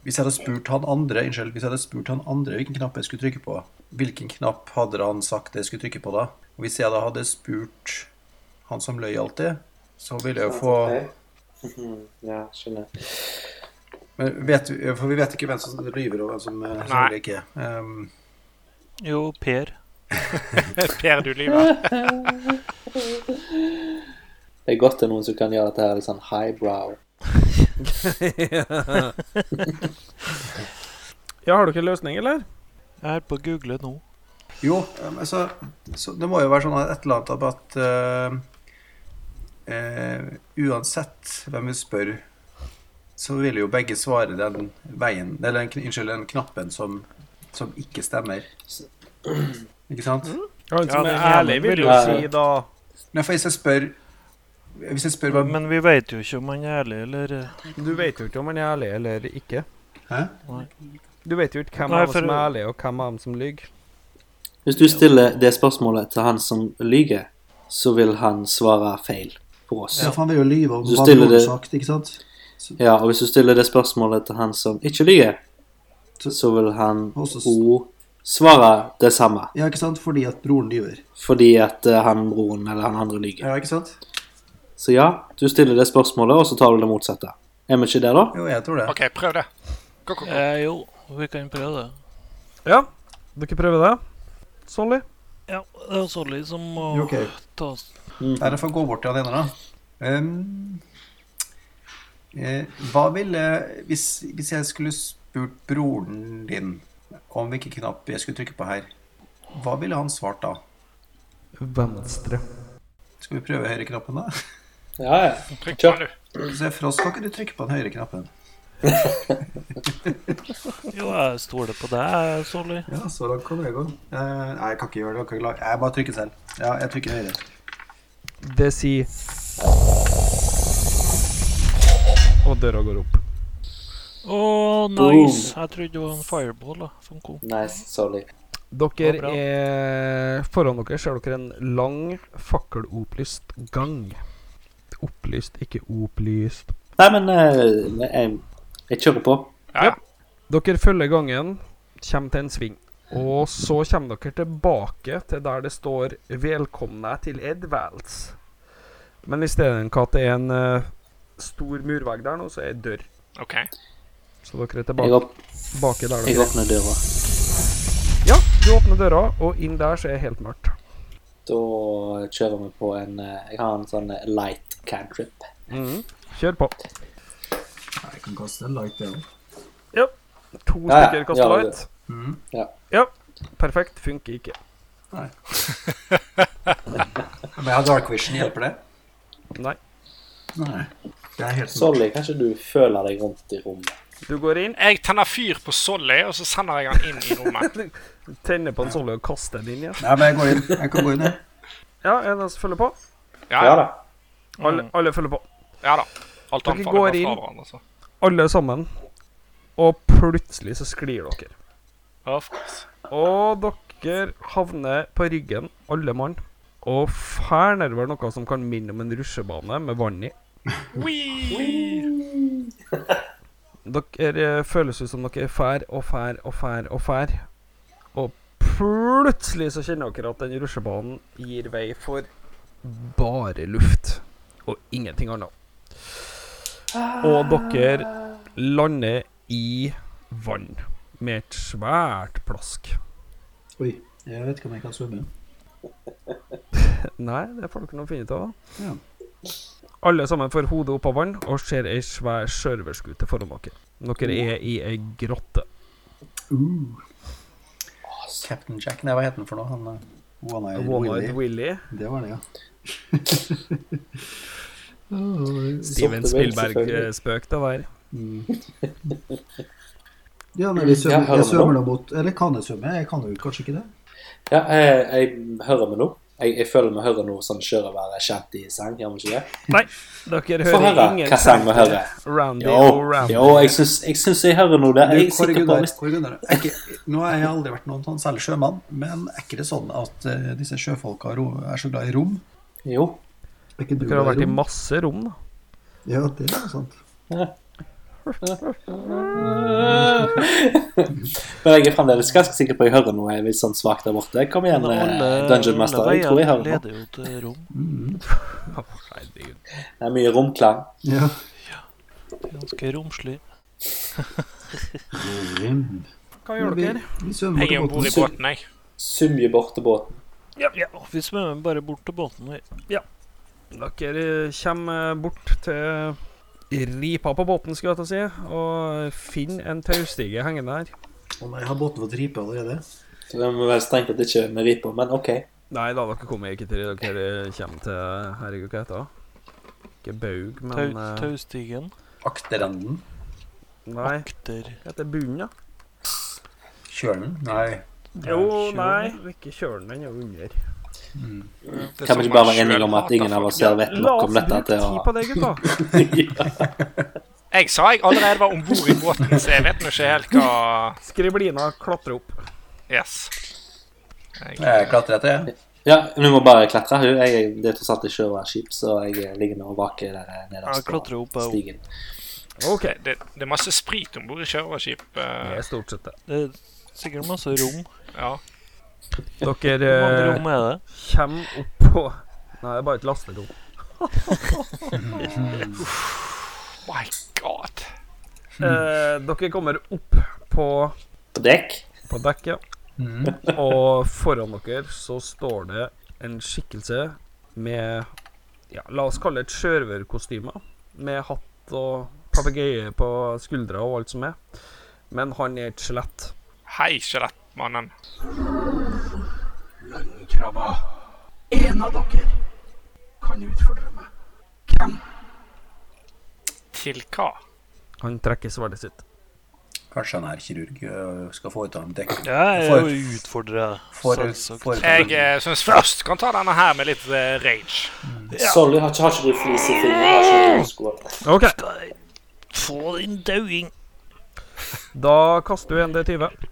Hvis jeg hadde spurt han andre Unnskyld, hvis jeg hadde spurt han andre hvilken knapp jeg skulle trykke på, hvilken knapp hadde han sagt jeg skulle trykke på da? Og hvis jeg da hadde spurt han som løy alltid, så ville jeg jo få
Ok. Mhm, Ja, skjønner.
Men vet, vi- For vi vet ikke hvem som lyver, og hvem som eh, som
Nei.
lyver ikke. Um,
Jo, Per.
Per, du lyver.
Det er godt det er noen som kan gjøre dette her litt sånn highbrow.
Ja, har dere løsning, eller?
Jeg er på å google nå.
Jo, eh, men så, så det må jo være sånn at et eller annet om at eh, eh, Uansett hvem vi spør, så vil jo begge svare den veien Eller den, kn- unnskyld, den knappen som, som ikke stemmer. Ikke sant?
Ja, den som er
Ja, den
ærlig,
ene
vil
vil
jo
jo
si da
Nei, for hvis jeg spør Hvis jeg spør hva
Men vi veit jo ikke om han er ærlig, eller eh.
Du vet jo ikke om han er ærlig eller ikke.
Hæ?
Nei.
Du vet jo ikke hvem av
Nei,
dem
for-
som er ærlig, og hvem av dem som lyver.
Hvis du stiller det spørsmålet til han som lyver, så vil han svare feil på oss.
Ja, for han vil jo lyve om
Du
hva
stiller
han har
det-
sagt, ikke sant?
Ja, og hvis du stiller det spørsmålet til han som ikke lyver, så vil han
Og så s-
òg svare det samme.
Ja, ikke sant? Fordi at broren lyver.
Fordi at eh, han broren eller han andre lyver.
Ja, ikke sant?
Så ja, du stiller det spørsmålet, og så tar du det motsatte. Er vi ikke der, da?
Jo, jeg tror det.
OK, prøv det. Gå, gå, gå.
eh, Jo, vi kan prøve det.
Ja. Dere prøver det? Solly?
Ja, det er Solly som må
Jo, ok.
ta oss
Nei, jeg får gå bort til han ene, da. Ehm, eh, hva ville hvis, hvis jeg skulle spurt broren din om hvilken knapp jeg skulle trykke på her, hva ville han svart da?
Venstre.
Skal vi prøve høyreknappen, da?
Ja, ja.
Trykk på, du.
Så Frost, kan ikke du trykke på den høyre knappen?
Jo, jeg stoler på deg, eh, Solly.
Ja,
Så langt kan det gå.
Eh, nei, jeg kan ikke gjøre det. Jeg, kan ikke lage. jeg bare trykker selv. Ja, jeg trykker høyre.
Det sier Og døra går opp.
Å, nice! Jeg trodde det var en fireball da, som kom.
Nice, sorry.
Ja,
Dere
bra.
er Foran dere ser dere en lang, fakkelopplyst gang. Opplyst, ikke oplyst.
Nei, men eh, jeg, jeg kjører på.
Ja, ja.
Dere følger gangen, kommer til en sving. Og så kommer dere tilbake til der det står 'Velkomne til Edvalds'. Men i stedet for at det er en eh, stor murvegg der nå, så er det dør.
OK.
Så dere er
Jeg,
tilbake,
opp,
tilbake der
jeg
dere er.
åpner døra.
Ja, du åpner døra, og inn der så er det helt mørkt.
Da kjører vi på en eh, Jeg har en sånn eh, light cantrip. Mm.
Kjør på.
Nei, Jeg kan kaste en light, jeg òg.
To
Ja, ja.
stykker kaster
Ja,
light.
Mm.
Ja.
ja. Perfekt. Funker ikke.
Men jeg har dark vision. Hjelper det?
Nei.
Nei.
Det er helt sånn.
Solly, kanskje du føler deg rundt i rommet?
Du går inn,
Jeg tenner fyr på Solly, og så sender jeg han inn i rommet.
tenner på en solle og kaster den inn igjen.
Nei, men jeg går inn. Jeg kan gå inn, jeg.
Ja, er det noen som følger på?
Ja
Ja,
da.
Alle, alle følger på.
ja da. Alt
Dere
annet
går
faller bare
inn.
fra hverandre. Så.
Alle sammen. Og plutselig så sklir dere.
Of course.
Og dere havner på ryggen, alle mann. Og fær nedover noe som kan minne om en rusjebane med vann i.
Wee!
Dere eh, føles ut som dere fær og fær og fær og fær. Og plutselig så kjenner dere at den rusjebanen gir vei for bare luft og ingenting annet. Og dere lander i vann med et svært plask.
Oi. Jeg vet ikke om jeg kan svømme.
Nei, det får dere nå finne ut av, da.
Ja.
Alle sammen får hodet opp av vann og ser ei svær sjørøverskute foran dere. Dere er i ei grotte.
Captain Jack, nei, hva het han for noe? Han eh, One-Eyed
One-Eyed
Willy.
Willy.
Det var det, ja.
Steven eh,
Sorte vel, selvfølgelig.
Spielberg-spøk, det der.
Ja, men
Mm,
vi
Jeg
svømmer,
hører
jeg svømmer
nå.
da mot Eller kan jeg svømme? Jeg kan jo kanskje ikke det.
Ja, jeg, jeg hører meg nå. Jeg, jeg føler vi hører noe sånn sjørøverkjent-sang, gjør vi ikke det?
Nei, dere
Få
hører
høre
ingen
hva sang vi hører.
Randy
Jo,
og Randy.
jo jeg, syns, jeg syns jeg hører noe der.
Du,
Jeg er
Kåre
sikker på
Gunnar,
hvis-
Kåre Gunnar, er ikke- Nå har jeg aldri vært noen sånn særlig sjømann, men er ikke det sånn at eh, disse sjøfolka ro- er så glad i rom?
Jo.
Er ikke du
Dere har
der,
vært i
Jon?
masse rom, da.
Ja, det er jo sant.
Men jeg er fremdeles ganske sikker på at jeg hører noe jeg er litt sånn svakt der borte. Kom igjen, eh, Dungeon Master. Jeg tror jeg hører noe.
leder jo til rom.
Herregud.
Det er mye romklang.
Ja.
Ganske romslig.
Hva gjør
Vi,
dere?
vi svømmer
Jeg er
bort
om bord
til
i
båten.
båten, jeg.
Sumje bort til båten.
Ja, ja. Vi svømmer bare bort til båten. vi.
Dere eh, kommer bort til ripa på båten, skulle jeg til å si, og finner en taustige hengende her.
Å nei, har båten fått ripe allerede?
Så Det må være strengt at det ikke er med ripa, men OK.
Nei da, dere kommer ikke til Dere kommer til Herregud, hva heter det? Ikke Baug,
Tau,
men eh,
taustigen.
Akterenden?
Nei,
Der.
hva heter bunnen, da?
Kjølen? Nei.
Jo, nei, ikke kjølen, den er jo under.
Det er
Kan
som
vi ikke bare
man
være enige
selv
om at
hater
ingen av
folk.
oss her vet
La
nok
oss
om dette
bruke
til
tid
å
på det,
(laughs)
gutta.
Jeg sa jeg allerede var om bord i båten, så jeg vet nå ikke helt hva
Skriblina klatrer opp.
Yes.
Jeg klatrer etter, jeg.
Ja, nå må bare klatre. Hun- Jeg, det er tross alt ikke over skip, så jeg ligger nå og vaker der eh,
Jeg
nederst på
klatrer opp. Jeg,
stigen.
OK.
Det, det er masse sprit om bord i sjørøverskip.
Det
eh,
er stort sett det.
også. det er sikkert masse rom.
ja. Oh
Dere
Hvor mange
eh,
rom er det?
kommer opp på Nei, det er bare et lasterom.
My god.
Hmm. Eh, dere kommer opp på,
På dekk?
på dekket. Og foran dere så står det en skikkelse med ja, La oss kalle det et sjørøverkostyme. Med hatt og papegøye på skuldra og alt som er. Men han er et skjelett.
Hei, skjelettmannen.
Krabba, en av dere kan utfordre meg. Hvem?
Til hva?
Han trekker sverdet sitt.
Kanskje han er kirurg
eh,
og skal foreta en dekk...
Ja, jeg er
For-
jo utfordra,
For,
selvsagt.
for,
Jeg eh, syns først kan ta denne her med litt eh, rage.
Sorry, har ikke, har ikke du flis i fingeren? Har ikke du sko?
OK,
Skal jeg få din dauing?
da kaster du en D20.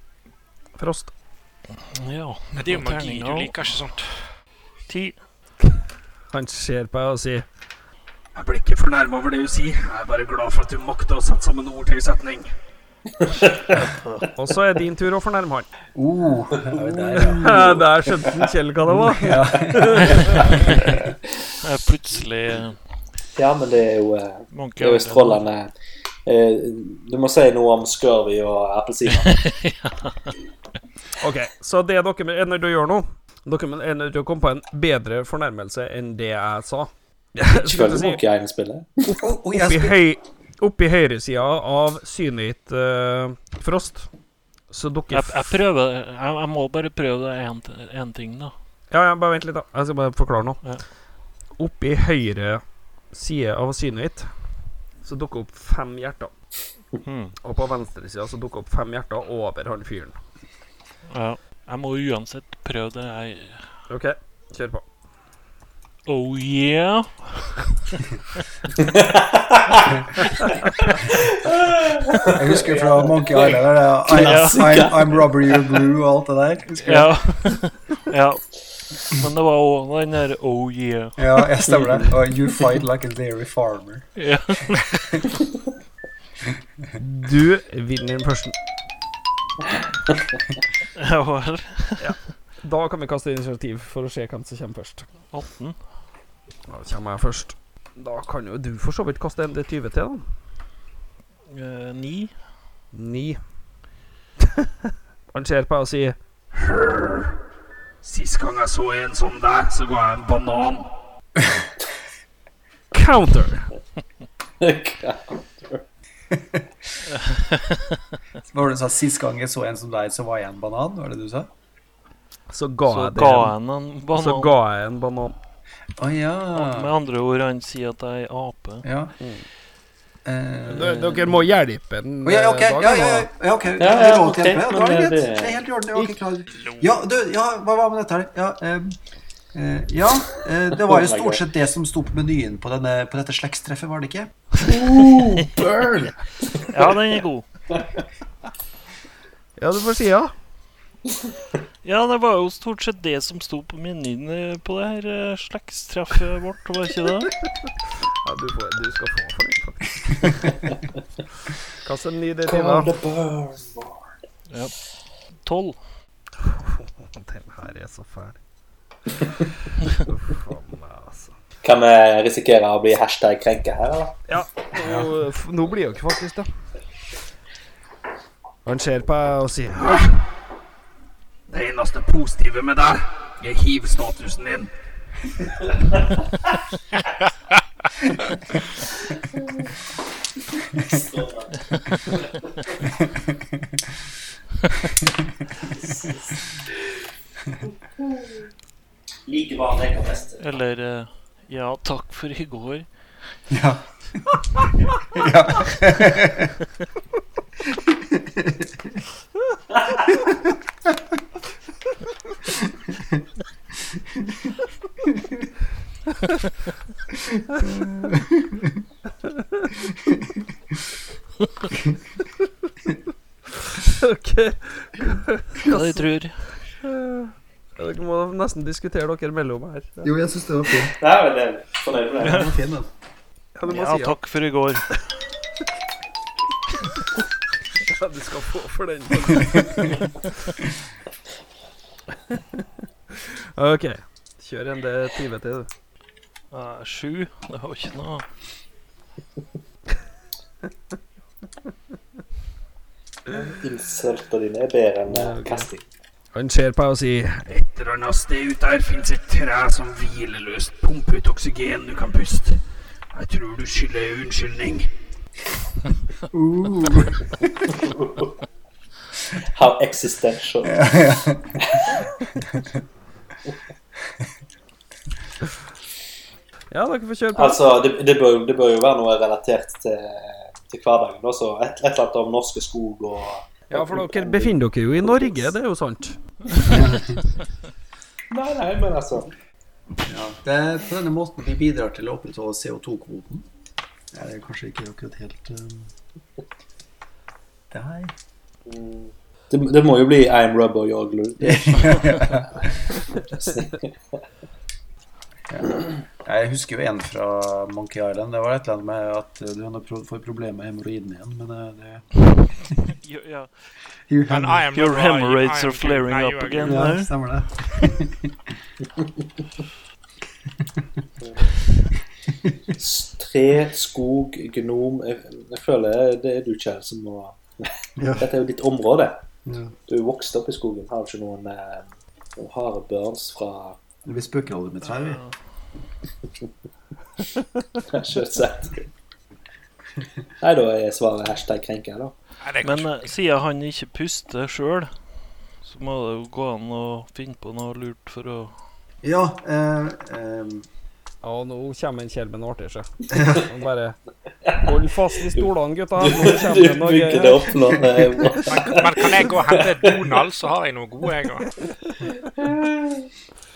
Frost.
Ja.
Men Det er jo magi. Du liker ikke sånt.
Ti.
Han ser på deg og sier
Jeg blir ikke fornærma over det du sier. Jeg er bare glad for at du makta å sette sammen ord til en
(laughs)
setning.
Og så er din tur å fornærme han.
oh, er vi der, ja.
Der skjønte han Kjell hva det var.
Jeg er plutselig
Ja, men det er jo, eh,
Monkey
det er jo
Island.
strålende. Eh, Du må si noe om scurvy og
(laughs)
appelsiner.
Ok, så det dere er nødt til å gjøre nå Dere er nødt til å komme på en bedre fornærmelse enn det jeg sa. Skulle
Følger
si,
Monkey
(laughs)
Island-spillet?
Å, å, jeg
oppi,
spil-
høy, oppi høyresida av synet eh, Frost, så dukker
Jeg,
f-
jeg prøver jeg, jeg må bare prøve én ting, da.
Ja, ja, bare vent litt, da. Jeg skal bare forklare noe.
Ja.
Oppi høyre side av synet ditt så dukker opp fem hjerter.
Hmm.
Og på venstresida så dukker opp fem hjerter over han fyren.
Ja. Jeg må uansett prøve det. Jeg
OK, kjør på.
Oh yeah!
jeg husker fra Monkey Island der, det er, I'm, I'm, I'm rubber, you're blue og alt det der. Husker du?
Ja. (laughs) ja. Men det var òg den der oh yeah.
Ja, jeg stemmer det. Og you fight like a dairy farmer.
(laughs) Ja.
Du vinner førsten.
Jeg var
Da kan vi kaste initiativ for å se hvem som kommer først.
18.
Da kommer jeg først. Da kan jo du for så vidt kaste en D20 til, da.
eh, 9.
Ni. (laughs) Han ser på deg og sier
Sist gang jeg så en som deg, så ga jeg en banan.
(laughs) counter.
Hva var det du sa sist gang jeg så en som deg, så var jeg en banan? Var det du sa?
Så ga
Så
jeg det.
ga
en-
han en
Så
banan.
ga jeg en banan.
Å ja.
Med andre ord, han sier at jeg er ape.
ja. Eh,
Dere må hjelpe den.
Å, ja, ok,
eh,
ja, ja, ja, ja, ok. Det
ja,
er lov til å
ok,
hjelpe. Ja,
men eh,
da er det
det-
greit. Det er helt i orden. Jeg var ikke klar. Ja, du, ja, hva var med dette her? Ja, ehm, eh, ja eh, det
Oh
var jo stort sett det som sto på menyen på, denne, på dette slektstreffet, var det ikke?
Ja, den er god.
Ja, du får si ja.
Ja, det var jo stort sett det som sto på menyen eh, på det her eh, slektstreffet vårt, var ikke det?
ja du, får, du skal få for den, faktisk. (laughs) Kast en ny D20. da.
Tolv.
Den her er så fæl. Faen meg, altså.
Kan vi risikere å bli hashtag krenka her, eller?
Nå, eh, f- nå blir jo ikke faktisk det. Han ser på meg og sier
Det eneste positive med deg er hiv-statusen din.
Like vanlig på fest.
Eller eh, Ja, takk for i går.
Ja. ja.
(laughs) OK.
Hva de tror.
Dere må nesten diskutere dere mellom her. Ja,
Jo, jeg syns det var fint.
Nei, men det er fornøyd med det. (laughs)
Den var fin, den.
du må
Ja,
si ja.
takk for i går.
Ja, du skal få for den. OK. Kjør en D20 til, du.
Eh, Sju. Det var ikke noe
Insultene dine er bedre enn eh, kasting.
Han ser på meg og sier
Et eller annet sted ute her fins et tre som hvileløst pumper ut oksygen du kan puste. Jeg tror du skylder ei unnskyldning.
How existential.
Ja, dere får kjøre på.
Altså, det, det, bør, det bør jo være noe relatert til, til hverdagen. da, så et, et eller annet om norske skog og
Ja, for dere befinner dere jo i Norge, det er jo sant.
Nei, nei, men altså
Ja, det er på denne måten vi bidrar til å opprettholde CO2-kvoten.
Det er kanskje ikke akkurat helt eh,
Det
(laughs)
her
mm, det, det må jo bli I'm rubber, you're glue.
Jeg husker jo en fra Monkey Island. Det var et eller annet med at eh, du har pro- får problemer med hemoroiden igjen, men eh, det
Ja, ja.
Men I am
Your
not- I-
hemorrhoids
I am
are flaring
good. Nei,
up
you are
again.
good.
Ja, stemmer det.
(laughs) Tre, skog, gnom Jeg, jeg føler det er du, Kjell, som må
Ja.
Dette er jo ditt område.
Ja.
Du er jo vokst opp i skogen. Har du ikke noen, eh, noen harde børns fra (laughs)
Vi spøker aldri med trær, vi.
Sjøsett? Nei, da er svaret hashtag krenker, da.
Nei, det går
Men
ikke.
eh, siden han ikke puster sjøl, så må det jo gå an å finne på noe lurt for å
Ja, eh, eh,
Ja, og nå kommer en Kjell med noe
(laughs)
artig, sjø. Han bare Hold fast i stolene, gutta. Nå
Du
kommer det noe
bygger det opp nå.
(laughs)
eh,
Men, men kan jeg gå og hente Donald, så har jeg noe god, jeg òg?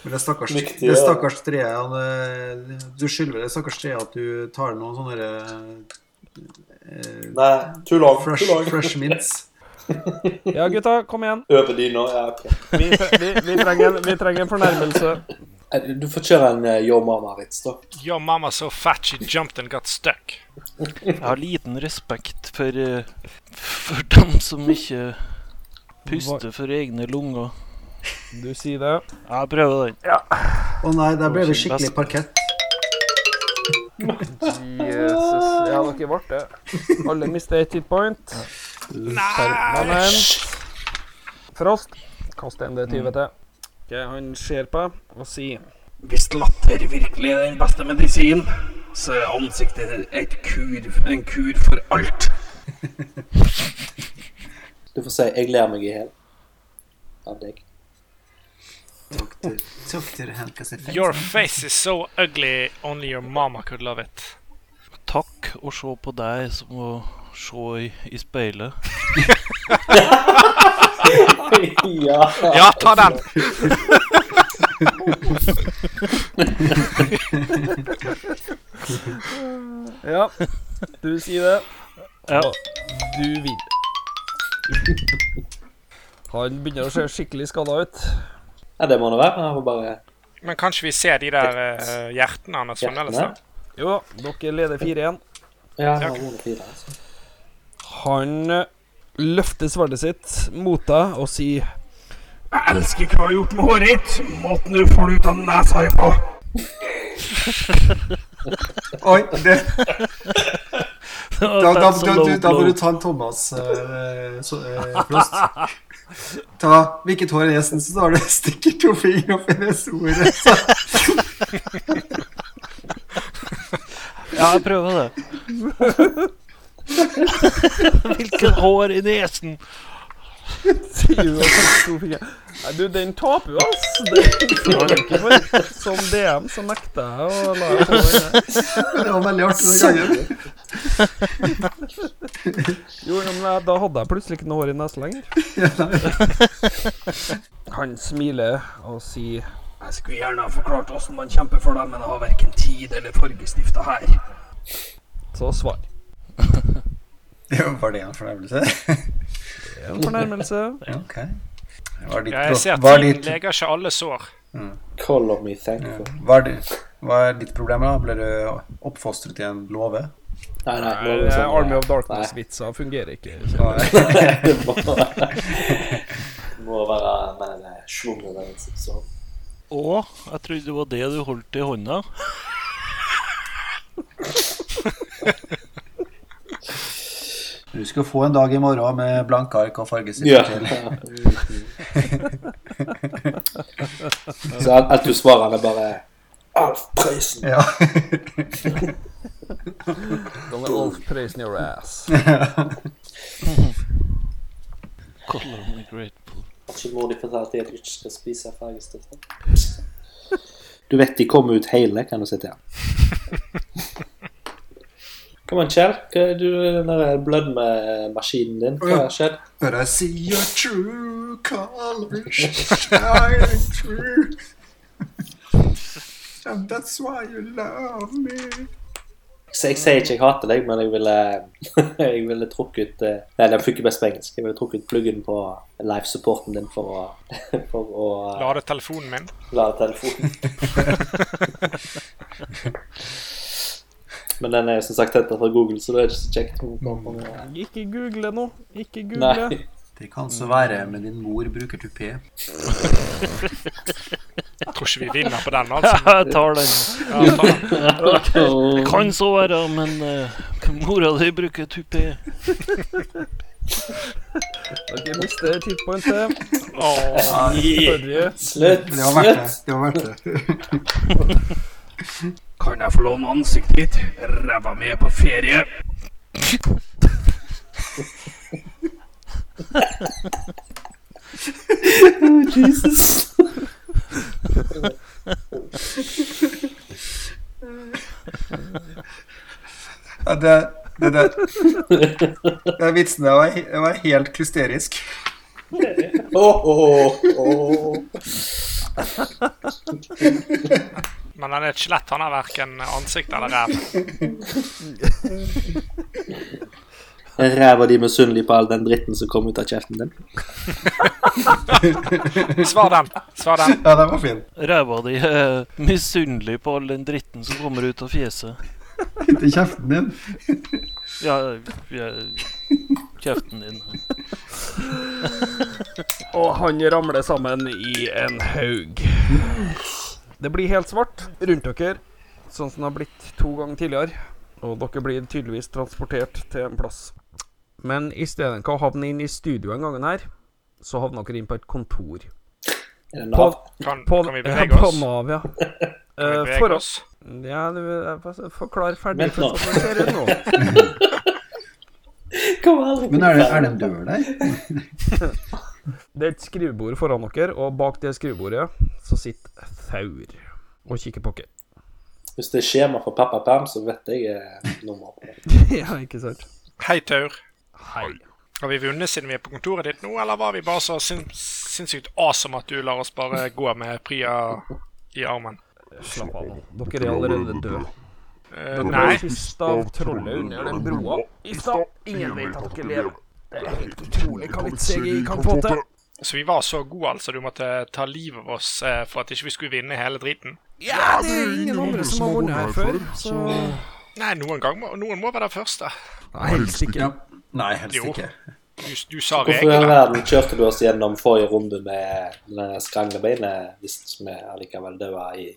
men det stakkars,
Viktig,
det
ja.
stakkars treet han, eh, Du skylder det stakkars treet at du tar noen sånne eh,
Nei, too long.
fresh,
Too long.
fresh mints.
Ja, gutta, kom igjen.
Over dyna. Ja, ok.
Vi, tre- vi, vi, trenger, en- vi trenger en fornærmelse.
Eh, du- Du får kjøre en eh, Yo Mama-vits, da.
Your mama so fat she jumped and got stuck.
Jeg har liten respekt for, eh, for dem som ikke puster for egne lunger.
Du sier det.
Jeg prøver den.
Å nei, der ble det skikkelig parkett.
Jesus. Ja, dere ble det. Alle mister ett hitpoint. Men en Frost, kast en D20 til. Mm. Ok, han ser på og sier
Hvis latter virkelig er den beste medisin, så er ansiktet et kur, en kur for alt.
Du får si 'jeg ler meg i hjel' av deg.
Takk til, takk til Helga Seffen.
Your face is so ugly, only your mama could love it.
Takk og se på deg som å se i, i
(laughs)
speilet.
(laughs) ja.
Ja, ta den!
Ja, du sier det.
Ja.
Og Du vil. Han begynner å se skikkelig skada ut.
ja, det må det være. Jeg får bare
Men kan ikke vi se de der eh, hjertene hans fremdeles? da?
hjertene.
Jo, dere leder 4-1.
Ja, jeg har noen fire, altså.
Han eh, løfter sverdet sitt mot deg og sier
Jeg elsker hva du har gjort med håret ditt. Måten du får det ut av nesa di på.
(laughs)
Oi, det,
(laughs)
da, da,
Så
da,
low
du, da må
blow.
du ta en Thomas eh, så, eh, Frost. Ta hvilket hår er nesen, så tar du stikker to fingre opp i nesehoret.
Ja, jeg prøver det.
(laughs)
Hvilket hår i nesen!
Sier du og setter to fingre. Nei, du, den taper jo, ass. Den får du ikke for. Som DM så nekter jeg å la deg få den.
Det var veldig artig den gangen.
Jo, jo, men jeg- da hadde jeg plutselig ikke noe hår i nesa lenger. (laughs) Han smiler og sier
Jeg skulle gjerne ha forklart åssen man kjemper for deg, men jeg har verken tid eller fargestifter her.
så svar.
Det var det en fornærmelse?
Det er en
(laughs)
fornærmelse.
Ok. Var ditt,
Ja, jeg ser
pro
at
var
tiden
ditt,
leger ikke alle sår.
Color me thankful.
var ditt, var ditt problem, da? Ble du oppfostret i en låve?
Nei, nei, nå er
Eh,
det sånn,
Army of
Nei,
Darkness-vitser fungerer ikke.
Nei.
(laughs) det må, det må være den eh, svungne den som så.
Å, jeg trodde det var det du holdt i hånda.
Du skal få en dag i morgen med blanke ark og fargesifter
Ja.
til.
(laughs) Så alt alt du svarer, han er bare Alf Prøysen.
Ja.
Don't let Ulf praise in your ass.
(laughs)
Color me grateful.
Ikke mor di fortalte deg at du ikke skal spise fargestifter. Du vet de kommer ut hele, kan du si til han. Kom an, Kjell. Hva er du, den der blødmemaskinen din? Hva har skjedd?
But I see your true colors shining through. And that's why you love me.
Så jeg sier ikke jeg hater deg, men jeg ville, (laughs) jeg ville trukket eh, Nei, den funker best på engelsk. Jeg ville trukket pluggen på live-supporten din for å, (laughs) for å
Lade telefonen min.
lade telefonen. Men den er jo som sagt henta fra Google, så det er ikke så kjekt. å gå på med-
Ikke google nå. Ikke google.
Nei.
Det kan så være, men din mor bruker tupé.
Jeg tror ikke vi vinner på den,
(laughs)
altså.
Jeg tar den.
Ja, faen.
Det kan så være, men eh, mora di bruker tupé.
Dere mister et hitpoint til.
Åh,
Sorry.
Slutt!
Det var
Slutt!
verdt det. det, var verdt det.
(laughs) Kan jeg få låne ansiktet ditt? Ræva mi er på ferie.
Jesus!
Ja, det, det, det, det vitsen der var, he- det var helt klysterisk.
Åh, åh, åh.
Men han er et skjelett. Han har verken ansikt eller ræv.
Er Ræva di misunnelig på all den dritten som kom ut av kjeften din?
Svar den. Svar den.
Ja, den var fin.
Ræva di er misunnelig på all den dritten som kommer ut av fjeset.
Ikke kjeften din.
Ja, jeg, kjeften din.
Og han ramler sammen i en haug. Det blir helt svart rundt dere, sånn som det har blitt to ganger tidligere. Og dere blir tydeligvis transportert til en plass. Men istedenfor å havne inn i studio en gangen her, så havner dere inn på et kontor.
Er det
På,
Nav?
Kan,
på,
kan vi
ja,
bevege
på
oss?
Nav, ja.
Kan vi
Eh,
bevege
for
oss?
Ja, du, jeg forklar ferdig
Vent nå.
først hvordan det ser ut nå.
Kom aldri
Men er det, er det en dør der?
Det er et skrivebord foran dere, og bak det skrivebordet så sitter Thaur og kikker på dere.
Hvis det er skjema for pappaperm, så vet jeg eh, nummer. på det.
(laughs) ja, ikke sant?
Hei, Taur.
Hei.
Har vi vunnet siden vi er på kontoret ditt nå, eller var vi bare så sin sinnssykt awesome at du lar oss bare gå med Priya i armen?
Slapp av nå. Dere er allerede døde.
Eh, nei.
Kista av trollet Eh, under den broa i stad. Ingen vet at dere lever. Det er helt utrolig hva litt CGI kan få til.
Så vi var så gode, altså. Du måtte ta livet av oss eh, for at ikke vi skulle vinne hele driten.
Ja, det er ingen andre som har vunnet her før, så
Nei, noen gang må, noen må være den første.
Nei, helst ikke.
Ja. Nei, helst
Jo.
ikke.
Du, du sa
Hvorfor i all
reglene.
verden kjørte du oss gjennom forrige runde med det skranglebeina hvis vi allikevel døde i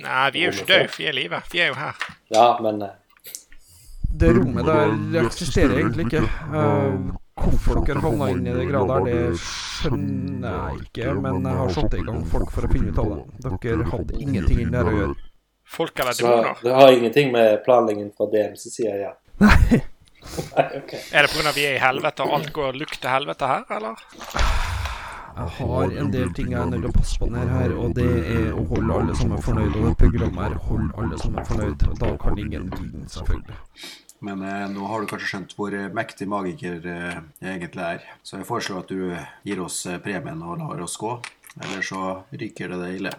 Nei, vi er jo ikke døde, vi er i live. Vi er jo her.
Ja, men eh,
Det rommet der eksisterer egentlig ikke. Eh, Hvorfor dere havna inn i det greia der, det skjønner jeg ikke, men jeg har satt i gang folk for å finne ut av det. Dere hadde ingenting inn der å gjøre.
Folk eller
så
demoner.
det har ingenting med planleggingen fra DMs side å gjøre. (laughs) Nei, ok.
Er det pga. vi er i helvete og alt går lukter helvete her, eller?
Jeg har en del ting jeg er nødt til å passe på ned her, og det er å holde alle sammen fornøyd. Og det programmet her holder alle sammen fornøyd. og Da kan ingen vinne, selvfølgelig.
Men eh, nå har du kanskje skjønt hvor eh, mektig magiker eh, jeg egentlig er. Så jeg foreslår at du gir oss eh, premien og lar oss gå. Eller så ryker det deg ille.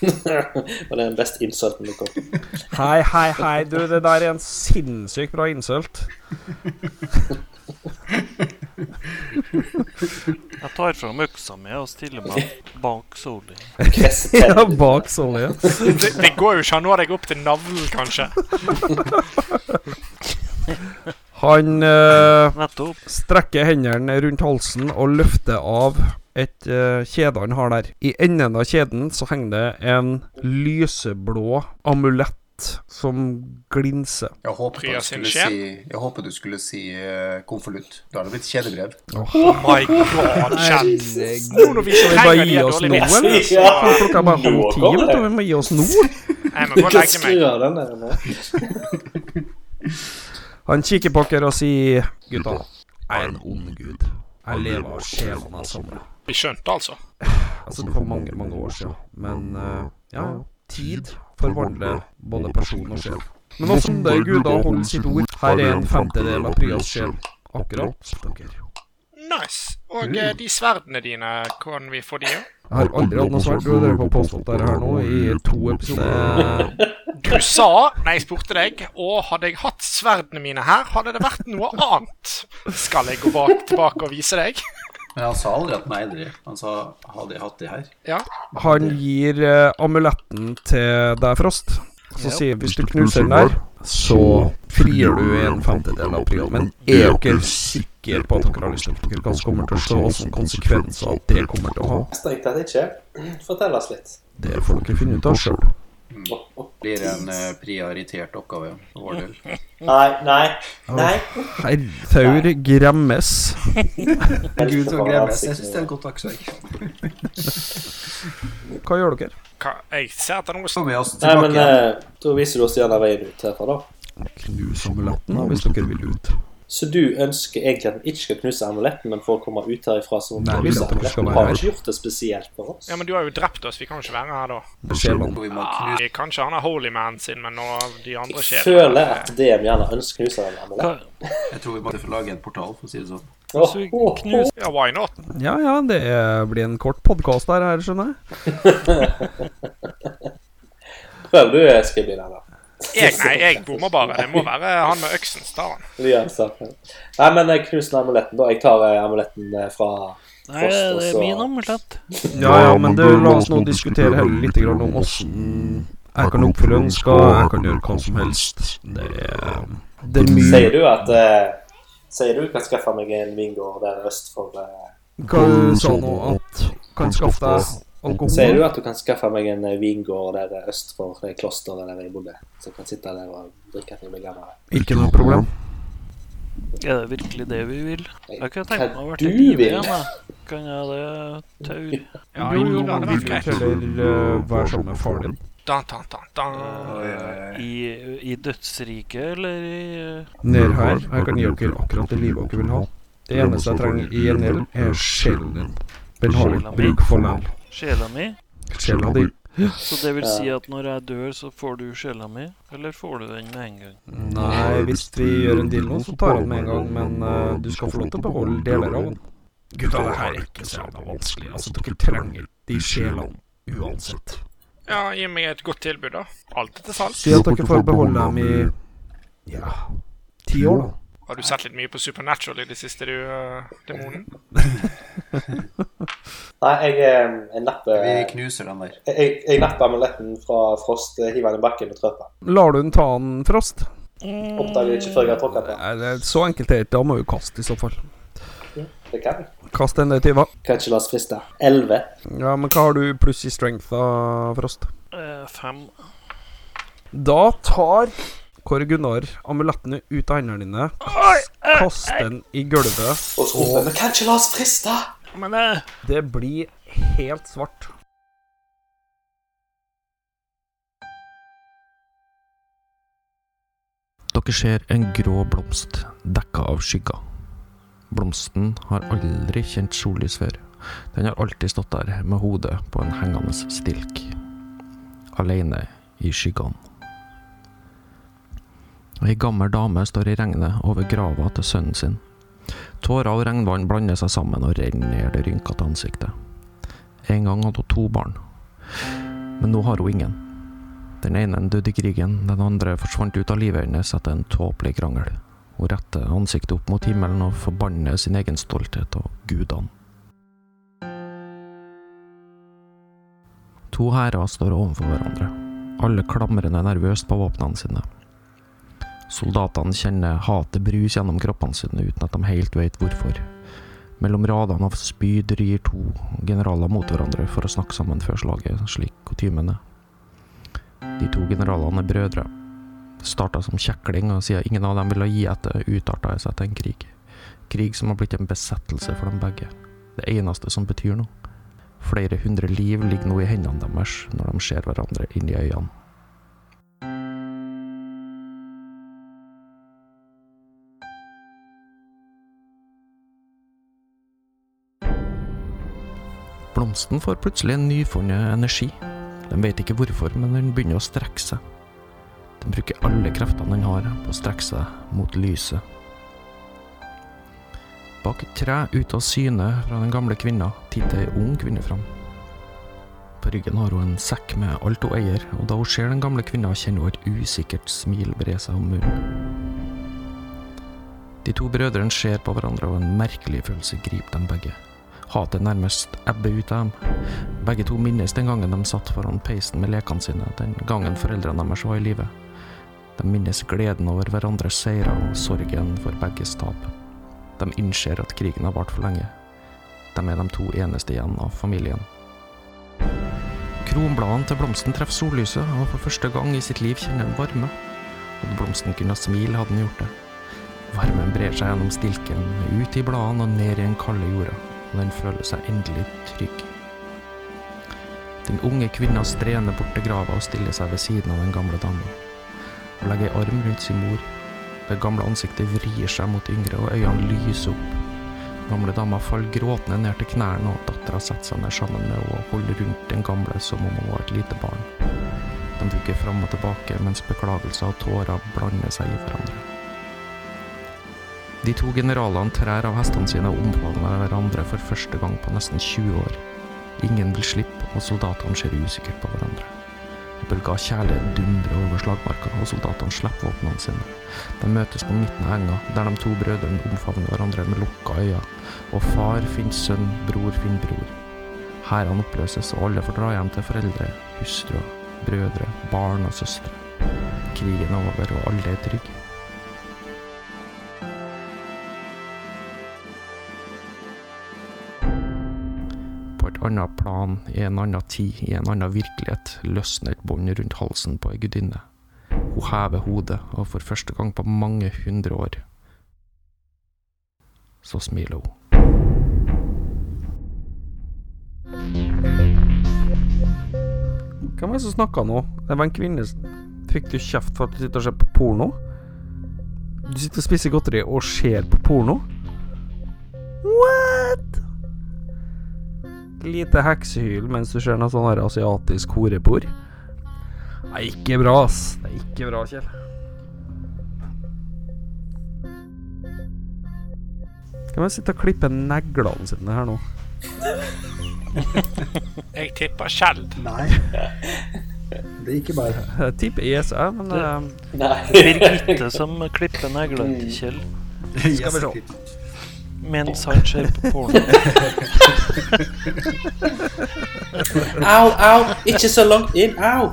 Og det er den beste insulten du kom med.
Hei, hei, hei. Du, det der er en sinnssykt bra insult. (laughs)
Jeg tar fram øksa mi og stiller
(laughs)
meg bak Soli.
Kresset
Ja,
tenner.
bak sånn Solly.
Det, det går jo ikke an å nå deg opp til navlen, kanskje.
Han eh,
Nettopp.
strekker hendene rundt halsen og løfter av et eh, kjede han har der. I enden av kjeden så henger det en lyseblå amulett som glinser.
Jeg håpet,
Prya
du
sin
skulle
skje.
si, jeg håpet du skulle si eh, konvolutt. Da hadde det blitt kjedebrev.
Oh (laughs) my god, kjenn.
Herregud.
Nå, når vi
Skal vi bare
trenger
gi
de
oss
dårlige
nå,
vitsene,
eller?
så-
Klokka er bare halv ti, vet du. Vi må gi oss nå.
Jeg må
Du
gå og
kan
legge
skru
meg.
av den der nå.
Han kikker på dere og sier Gutta, jeg er en ond gud. Jeg lever av sjelene jeg samler.
Vi skjønte altså.
Altså, det var mange, mange år siden. Men eh, ja, tid forvandler både person og sjel. Men hva som det guda holder sitt ord, her er en femtedel av Prias sjel. Akkurat. Dere.
Nice. Og
Mm.
eh, de sverdene dine, kan vi få de òg?
Jeg har aldri hatt noe svært å dere på påstått dette her nå i to episoder.
Du sa, nei, jeg spurte deg, og hadde jeg hatt sverdene mine her, hadde det vært noe annet. Skal jeg gå bak, tilbake og vise deg?
Men han sa aldri at nei, dere. Han sa hadde jeg hatt det her?
Ja.
Han gir eh, amuletten til deg, Frost. Så sier hvis du knuser den der, så frigjør du en femtedel av privat. Men er dere sikre på at dere har lyst til at dere kanskje kommer til å se hvilke konsekvenser at det kommer til å ha?
Strengt tatt ikke. Fortell oss litt.
Det får dere finne ut av sjøl.
Blir en eh, prioritert oppgave for vår del.
Mm.
Nei, nei, nei.
Herrtaur gremmes.
Gud
så gremmes.
Jeg syns det er et godt aksept.
Hva gjør dere?
Hva, jeg ser etter noe
Så med oss
Nei,
tilbake.
men eh, da viser du oss gjerne veien ut herfra, da.
Knus amuletten da, hvis dere vil ut.
Så du ønsker egentlig at den ikke skal knuse amuletten, men for å komme ut herifra så må
Nei,
den
vi vil
knuse
at den skal
amuletten?
være
Har
her.
ikke gjort det spesielt for oss?
Ja, men du har jo drept oss, vi kan jo ikke være her da.
Sjelene.
Og vi må knuse
Nei, kanskje han er holy man sin, men nå de andre
Jeg
sjelene
føler at DM gjerne ønsker å knuse den
Hva,
amuletten.
Jeg tror vi måtte få lage en portal, for å si det sånn.
Åh,
vi
åh, åh.
Ja, why not?
Ja ja, det eh, blir en kort podkast her, her, skjønner jeg.
Prøv du, Skriblin, eller?
Jeg, nei, jeg bommer bare. Det må være han med øksen, tar han.
Vi gjør saken. Nei, men eh, knus den amuletten, da. Jeg tar eh, amuletten eh, fra
nei, det
altså.
er min omelett.
Ja, ja, men det, la oss nå diskutere heller litt grann om åssen jeg kan oppfylle ønsker, jeg kan gjøre hva som helst. Det er, det er mye
Sier du at eh, Sier du kan skaffe meg en vingård der øst for eh,
Hva sa nå sånn at kan skaffe deg
Sier
alkohol?
du at du kan skaffe meg en eh, vingård der øst for eh, klosteret der jeg bodde? Så jeg kan sitte der og drikke til jeg blir gammel?
Ikke noe problem.
Er det virkelig det vi vil? Jeg kunne tenkt meg
Hva
å være
du
livet
vil?
igjen, jeg. Kan jeg det, Taur?
(laughs)
Ja,
Jo,
jo,
jo,
det hadde
vi
vært
vil
greit.
heller eh, være sammen med faren din.
Dan, dan, dan, dan.
I, I dødsriket, eller i eh,
Ned her. Jeg kan gi dere akkurat det livet dere vil ha. Det eneste jeg trenger i en del, er sjelen din. Den har vi bruk for meg.
sjela mi?
Sjela di.
Så det vil si at når jeg dør, så får du sjela mi? Eller får du den med en gang?
Nei, hvis vi gjør en deal nå, så tar han med en gang, men eh, du skal få lov til å beholde deler av den. Gutta, det her er ikke så jævla vanskelig. Altså, dere trenger de sjelene uansett.
Ja, gi meg et godt tilbud, da. Alt er til salgs.
Si at dere får beholde dem i ja, ti år, da.
Har du sett litt mye på Supernatural i det siste, du, eh, demonen?
Nei, jeg, eh, jeg napper
Vi
jeg,
knuser den der.
jeg, jeg napper amuletten fra Frost, eh, hiver den i bakken og trør på den.
Lar du den ta den, Frost?
Oppdager det ikke før jeg har tråkka på den.
Nei, det er Eh, så enkelt er det ikke. Da må du kaste, i så fall.
Det kan jeg.
Kast den der tyva.
Kan ikke la oss friste. Elleve.
Ja, men hva har du pluss i strength, da, Frost?
Eh, fem.
Da tar Kåre Gunnar amulettene ut av hendene dine,
eh,
kaster den i gulvet
Og skopen. Men kan ikke la oss friste!
Men jeg
Det blir helt svart.
Dere ser en grå blomst dekka av skygger. Blomsten har aldri kjent sollys før. Den har alltid stått der med hodet på en hengende stilk. Alene i skyggene. Ei gammel dame står i regnet over grava til sønnen sin. Tårer og regnvann blander seg sammen og renner ned det rynkete ansiktet. En gang hadde hun to barn, men nå har hun ingen. Den ene døde i krigen, den andre forsvant ut av livet hennes etter en tåpelig krangel. Hun retter ansiktet opp mot himmelen og forbanner sin egen stolthet og gudene. To hærer står overfor hverandre, alle klamrende nervøst på våpnene sine. Soldatene kjenner hatet brus gjennom kroppene sine uten at de helt vet hvorfor. Mellom radene av spyd rir to generaler mot hverandre for å snakke sammen før slaget, slik kutymen er.
De to generalene er brødre. Det starta som kjekling, og siden ingen av dem ville gi etter, utarta det seg til en krig. Krig som har blitt en besettelse for dem begge. Det eneste som betyr noe. Flere hundre liv ligger nå i hendene deres når de ser hverandre inn i øynene. Blomsten får plutselig en nyfunnet energi. Den vet ikke hvorfor, men den begynner å strekke seg. Den bruker alle kreftene den har på å strekke seg mot lyset. Bak et tre ute av syne fra den gamle kvinna titter ei ung kvinne fram. På ryggen har hun en sekk med alt hun eier, og da hun ser den gamle kvinna, kjenner hun et usikkert smil bre seg om munnen. De to brødrene ser på hverandre, og en merkelig følelse griper dem begge. Hatet nærmest ebber ut av dem. Begge to minnes den gangen de satt foran peisen med lekene sine, den gangen foreldrene deres var i live. De minnes gleden over hverandres seire og sorgen for begges tap. De innser at krigen har vart for lenge. De er de to eneste igjen av familien. Kronbladene til blomsten treffer sollyset, og for første gang i sitt liv kjenner den varme. Hadde blomsten kunnet smile, hadde den gjort det. Varmen brer seg gjennom stilken, ut i bladene og ned i den kalde jorda, og den føler seg endelig trygg. Den unge kvinna strener bort til grava og stiller seg ved siden av den gamle dama. Hun legger ei arm rundt sin mor. Det gamle ansiktet vrir seg mot det yngre, og øynene lyser opp. Den gamle dama faller gråtende ned til knærne, og dattera setter seg ned sammen med henne og holder rundt den gamle som om hun var et lite barn. De brygger fram og tilbake, mens beklagelser og tårer blander seg i hverandre. De to generalene trær av hestene sine og omfavner hverandre for første gang på nesten 20 år. Ingen vil slippe, og soldatene ser usikkert på hverandre. En bølge av kjærlighet dundrer over slagmarka, og soldatene slipper våpnene sine. De møtes på midten av enga, der de to brødrene omfavner hverandre med lukka øyne, og far finner sønn, bror finner bror. Hærene oppløses, og alle får dra hjem til foreldre, hustruer, brødre, barn og søstre. Krigen er over, og alle er trygge. på et annet plan, i en annen tid, i en annen virkelighet, løsner et bånd rundt halsen på ei gudinne. Hun hever hodet, og for første gang på mange hundre år så smiler hun.
Hvem er det som snakker nå? Det var en kvinne som Fikk du kjeft for at du sitter og ser på porno? Du sitter og spiser godteri og ser på porno? What? Lite heksehyl mens du ser noe sånn her asiatisk horepor. Nei, ikke bra, ass. Det er ikke bra, Kjell. Kan man sitte og klippe neglene sine her nå?
Jeg tipper Kjell.
(laughs) Nei. Det er ikke bare
Jeg tipper ESA, E men eh,
(laughs) Birgitte som klipper neglene
Mm.
til Kjell
skal vi se.
mens han ser på porno.
Au, au! Ikke så langt inn! Au!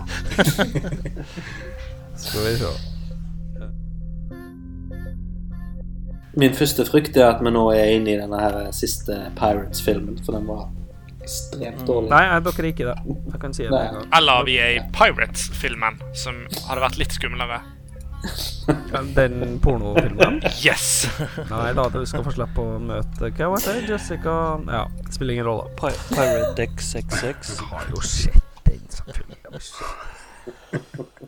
Skal vi se.
Min første frykt er at vi nå er inne i denne her siste Pirates-filmen, for den var ekstremt dårlig.
Nei, jeg dere er ikke det. Jeg kan si det med en gang.
Eller vi er i Pirates-filmen, som hadde vært litt skumlere.
Men Den pornofilmen?
Yes!
Nei da, du skal få slippe å møte Hva var det? Jessica Ja, spiller ingen rolle.
Pi- Pirate Deck 66.
Har jo sett den, selvfølgelig.